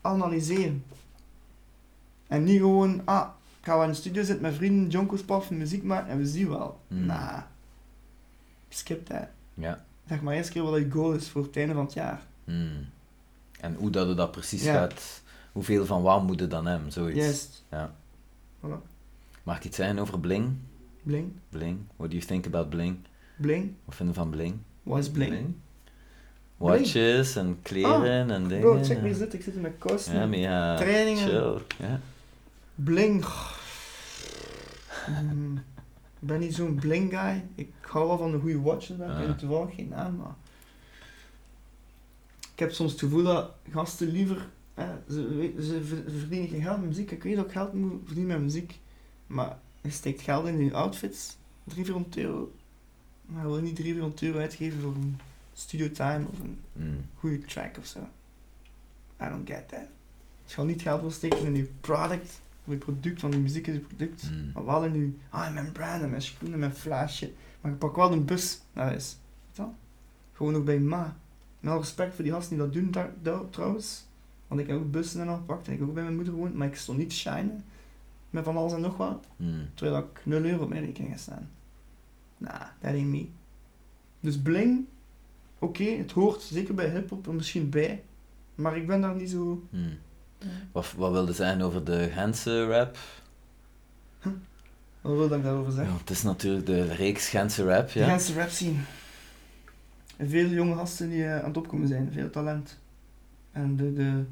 Speaker 1: Analyseren. En niet gewoon, ah, ik ga wel in de studio zitten met vrienden, jonkels paffen, muziek maken en we zien wel.
Speaker 2: Mm.
Speaker 1: Nah. Skip dat.
Speaker 2: Ja.
Speaker 1: Zeg maar eerst keer wat je goal is voor het einde van het jaar.
Speaker 2: Mm. En hoe dat het dat precies
Speaker 1: Ja.
Speaker 2: gaat, hoeveel van waar moet het dan hem, zoiets.
Speaker 1: Juist.
Speaker 2: Ja.
Speaker 1: Voilà.
Speaker 2: Mag ik iets zeggen over Bling?
Speaker 1: Bling.
Speaker 2: Bling? What do you think about Bling?
Speaker 1: Bling.
Speaker 2: Wat vinden we van Bling?
Speaker 1: Wat is bling? Ah.
Speaker 2: Watches en kleren en dingen.
Speaker 1: Bro, check wie zit. Ik zit in mijn kast.
Speaker 2: Ja, maar ja,
Speaker 1: Trainingen.
Speaker 2: chill. Ja.
Speaker 1: Bling. Mm, Ik ben niet zo'n bling guy. Ik hou wel van de goede watches, maar ik
Speaker 2: Ah.
Speaker 1: weet toevallig geen naam. Maar... Ik heb soms het gevoel dat gasten liever... Hè, ze, we- ze ver- ze verdienen geen geld met muziek. Ik weet dat ik geld moet verdienen met muziek. Maar je steekt geld in je outfits. 300 euro. Maar je wil niet 300 euro uitgeven voor een studio time of een
Speaker 2: Mm.
Speaker 1: goede track of zo. I don't get that. Als je al niet geld wil steken in je product, of je product, want je muziek is je product,
Speaker 2: Mm.
Speaker 1: maar wel in je, ah, mijn brand en mijn schoenen en mijn flaasje. Maar je pakt wel een bus naar huis. Weet je wel? Gewoon ook bij je ma. Met al respect voor die gasten die dat doen daar, daar- trouwens. Want ik heb ook bussen en al gepakt en ik heb ook bij mijn moeder gewoond, maar ik stond niet te shinen. Met van alles en nog wat.
Speaker 2: Mm.
Speaker 1: Terwijl ik 0 euro op mijn rekening heb staan. Nah, that ain't me. Dus bling, oké, het hoort zeker bij hip-hop er misschien bij. Maar ik ben daar niet zo.
Speaker 2: Mm. Wat, wat wilde zijn over de Gentse rap?
Speaker 1: Wat wil ik daarover
Speaker 2: Ja,
Speaker 1: zeggen?
Speaker 2: het is natuurlijk de reeks Gentse rap,
Speaker 1: De
Speaker 2: ja.
Speaker 1: Gentse rap scene. En Veel jonge gasten die eh, aan het opkomen zijn, veel talent. En de, de,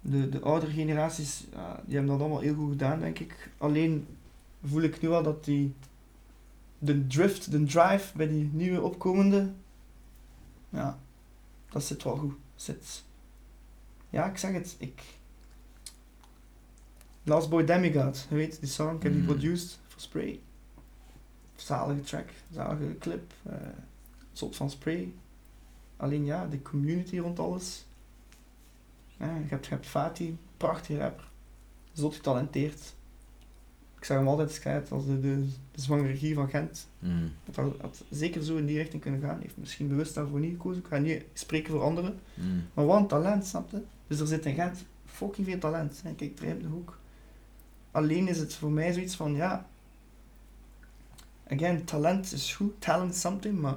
Speaker 1: de, de oudere generaties, ja, die hebben dat allemaal heel goed gedaan, denk ik. Alleen voel ik nu al dat die de drift, de drive bij die nieuwe opkomende, ja, dat zit wel goed. Zit. Ja, ik zeg het, ik... Last Boy Demigod, je weet, die song, ik heb die
Speaker 2: Mm.
Speaker 1: produced voor Spray. Zalige track, zalige clip, eh soort van Spray. Alleen ja, de community rond alles. Ja, je, hebt, je hebt Fatih, prachtige rapper. Zot getalenteerd. Ik zag hem altijd schijt als de, de, de zwangere Guy van Gent.
Speaker 2: Mm.
Speaker 1: Het had, had zeker zo in die richting kunnen gaan. Hij heeft misschien bewust daarvoor niet gekozen. Ik ga niet spreken voor anderen.
Speaker 2: Mm.
Speaker 1: Maar wat een talent, snap je? Dus er zit in Gent fucking veel talent. En kijk, drijf de hoek. Alleen is het voor mij zoiets van, ja... Again, talent is goed. Talent is something, maar...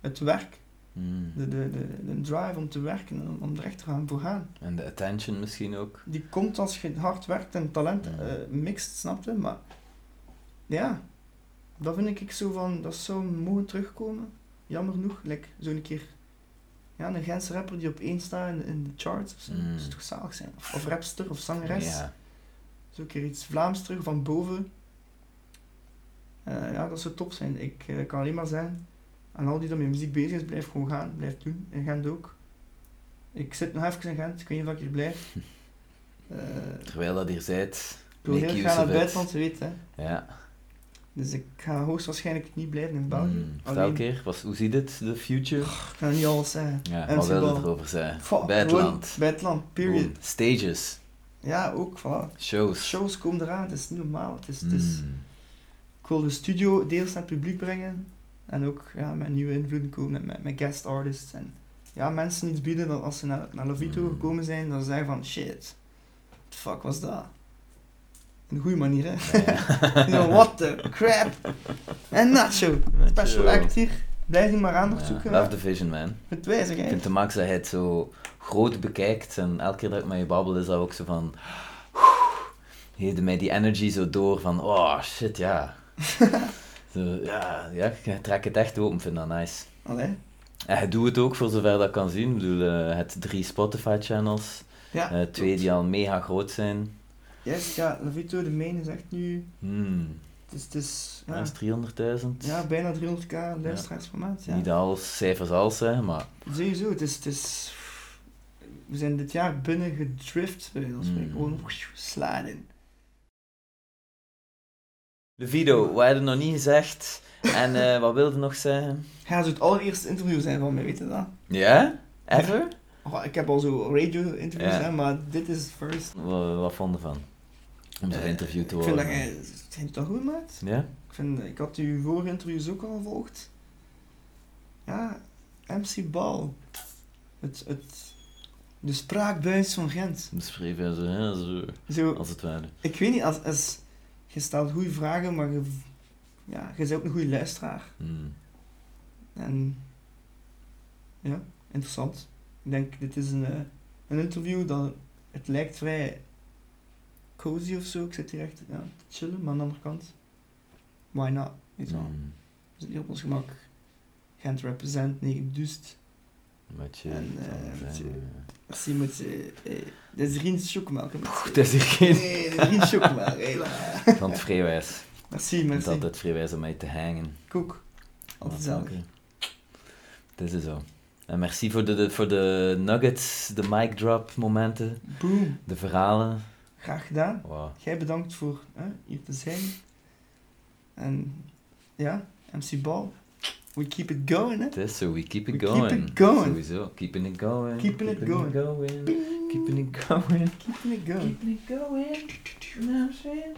Speaker 1: Het werk,
Speaker 2: Mm.
Speaker 1: de, de, de, de drive om te werken, en om, om er echt te gaan voor gaan.
Speaker 2: En de attention misschien ook.
Speaker 1: Die komt als je hard werkt en talent
Speaker 2: Mhm.
Speaker 1: eh, mixt, snap je? Maar ja, dat vind ik zo van, dat zou mogen terugkomen. Jammer genoeg, like, zo'n keer. Ja, een Gentse rapper die op één staat in, in de charts of zo.
Speaker 2: Mhm.
Speaker 1: Dat zou toch zalig zijn? Of, of rapster of zangeres.
Speaker 2: Ja.
Speaker 1: Zo'n keer iets Vlaams terug van boven. Eh, ja, dat zou top zijn. Ik eh, kan alleen maar zeggen, aan al die dat met muziek bezig is, blijf gewoon gaan, blijf doen. In Gent ook. Ik zit nog even in Gent, ik weet niet of ik hier blijf. Eh,
Speaker 2: Terwijl dat hier zijt.
Speaker 1: ik wil
Speaker 2: Make
Speaker 1: heel
Speaker 2: use
Speaker 1: graag naar
Speaker 2: of
Speaker 1: het
Speaker 2: it.
Speaker 1: buitenland, je weet hè.
Speaker 2: Ja.
Speaker 1: Dus ik ga hoogstwaarschijnlijk niet blijven in België.
Speaker 2: Mm. Vertel
Speaker 1: Alleen,
Speaker 2: keer, was, hoe ziet het, de future?
Speaker 1: ik kan niet alles zeggen.
Speaker 2: Ja,
Speaker 1: en
Speaker 2: wat wil
Speaker 1: voetbal.
Speaker 2: je erover zeggen?
Speaker 1: Fuck,
Speaker 2: Bij het
Speaker 1: gewoon
Speaker 2: land.
Speaker 1: Buitenland, period.
Speaker 2: Boom. Stages.
Speaker 1: Ja, ook, voilà.
Speaker 2: Shows. Mm.
Speaker 1: Shows dus- komen eraan, het is niet normaal. Het is, het is, ik wil de studio deels naar het publiek brengen. En ook ja, met nieuwe invloeden komen, met, met guest artists. En ja, mensen iets bieden dat als ze naar, naar Lavito
Speaker 2: Mm.
Speaker 1: gekomen zijn, dan zeggen van shit, what the fuck was dat? Op een goede manier, hè?
Speaker 2: Ja.
Speaker 1: Ja, what the crap! En Nacho,
Speaker 2: Nacho.
Speaker 1: special act hier. Blijf die maar aandacht
Speaker 2: Ja,
Speaker 1: zoeken.
Speaker 2: Love
Speaker 1: hè.
Speaker 2: the vision, man.
Speaker 1: Het wijzig,
Speaker 2: Ik
Speaker 1: hè?
Speaker 2: vind de max dat hij het zo groot bekijkt en elke keer dat ik met je babbel is dat ook zo van... Geeft mij die energy zo door van, oh shit, ja. zo, ja, ja, ik trek het echt open, vind dat nice.
Speaker 1: Allee.
Speaker 2: En hij doet het ook voor zover dat kan zien. Ik bedoel, eh, het drie Spotify-channels,
Speaker 1: Ja,
Speaker 2: eh, twee die al mega groot zijn.
Speaker 1: Yes, ja, Lavito de Main is echt nu...
Speaker 2: Hmm.
Speaker 1: Het is, het is
Speaker 2: Ja,
Speaker 1: ja,
Speaker 2: is 300.000.
Speaker 1: ja, bijna 300k luisteraarsformaat. Ja.
Speaker 2: Niet alles, cijfers als, hè, maar...
Speaker 1: Sowieso, het is, het is... We zijn dit jaar binnen gedrift, bij ons
Speaker 2: Mm.
Speaker 1: Gewoon sladen.
Speaker 2: Levido, we hadden nog niet gezegd. En eh, wat wilde nog zeggen?
Speaker 1: Hij zou het allereerste interview zijn van mij, weet je dat?
Speaker 2: Ja? Ever?
Speaker 1: Oh, ik heb al zo radio-interviews,
Speaker 2: Ja.
Speaker 1: hè, maar dit is first.
Speaker 2: Wat, wat vonden van? Om zo
Speaker 1: Eh,
Speaker 2: geïnterviewd te
Speaker 1: Ik
Speaker 2: worden.
Speaker 1: vind dat jij... Zijn het al goed, maat?
Speaker 2: Ja?
Speaker 1: Ik, vind, ik had uw vorige interviews ook al gevolgd. Ja, MC Bal. Het, het, de spraakbuis van Gent.
Speaker 2: Beschreef hij zo, hè, zo,
Speaker 1: Zo,
Speaker 2: als het ware.
Speaker 1: ik weet niet, als, als, je stelt goede vragen, maar je, ja, je bent ook een goede luisteraar.
Speaker 2: Hmm.
Speaker 1: En ja, interessant. Ik denk, dit is een, eh, een interview dat het lijkt vrij cozy of zo. Ik zit hier echt ja, te chillen, maar aan de andere kant, why not? Weet je wel.
Speaker 2: Hmm.
Speaker 1: We zitten hier op ons gemak. Gent represent, niet gedust.
Speaker 2: Met je...
Speaker 1: En,
Speaker 2: het
Speaker 1: eh,
Speaker 2: andere
Speaker 1: met
Speaker 2: zijn,
Speaker 1: je-
Speaker 2: eh.
Speaker 1: Als je moet... eh, eh, Dit is geen chocomelk. hè, mensen.
Speaker 2: Het is hier geen...
Speaker 1: Nee, dit is geen chocomelk. hela.
Speaker 2: eh, Van het vrijwijs.
Speaker 1: Merci,
Speaker 2: Het is
Speaker 1: merci.
Speaker 2: altijd vrijwijs om mij te hangen.
Speaker 1: Koek. Altijd zelf.
Speaker 2: Ah, Oké. Het is dus zo. En merci voor de, de- voor de nuggets, de mic drop momenten,
Speaker 1: Boom.
Speaker 2: de verhalen.
Speaker 1: Graag gedaan.
Speaker 2: Wow.
Speaker 1: Jij bedankt voor hè, hier te zijn. En ja, MC Bal. We keep it going, hè.
Speaker 2: Het is zo, we keep
Speaker 1: We
Speaker 2: it
Speaker 1: keep
Speaker 2: going.
Speaker 1: it going.
Speaker 2: Sowieso, keeping it going.
Speaker 1: Keeping it going.
Speaker 2: Keeping it going.
Speaker 1: Keeping it going.
Speaker 2: Keeping it going. You know what I'm saying?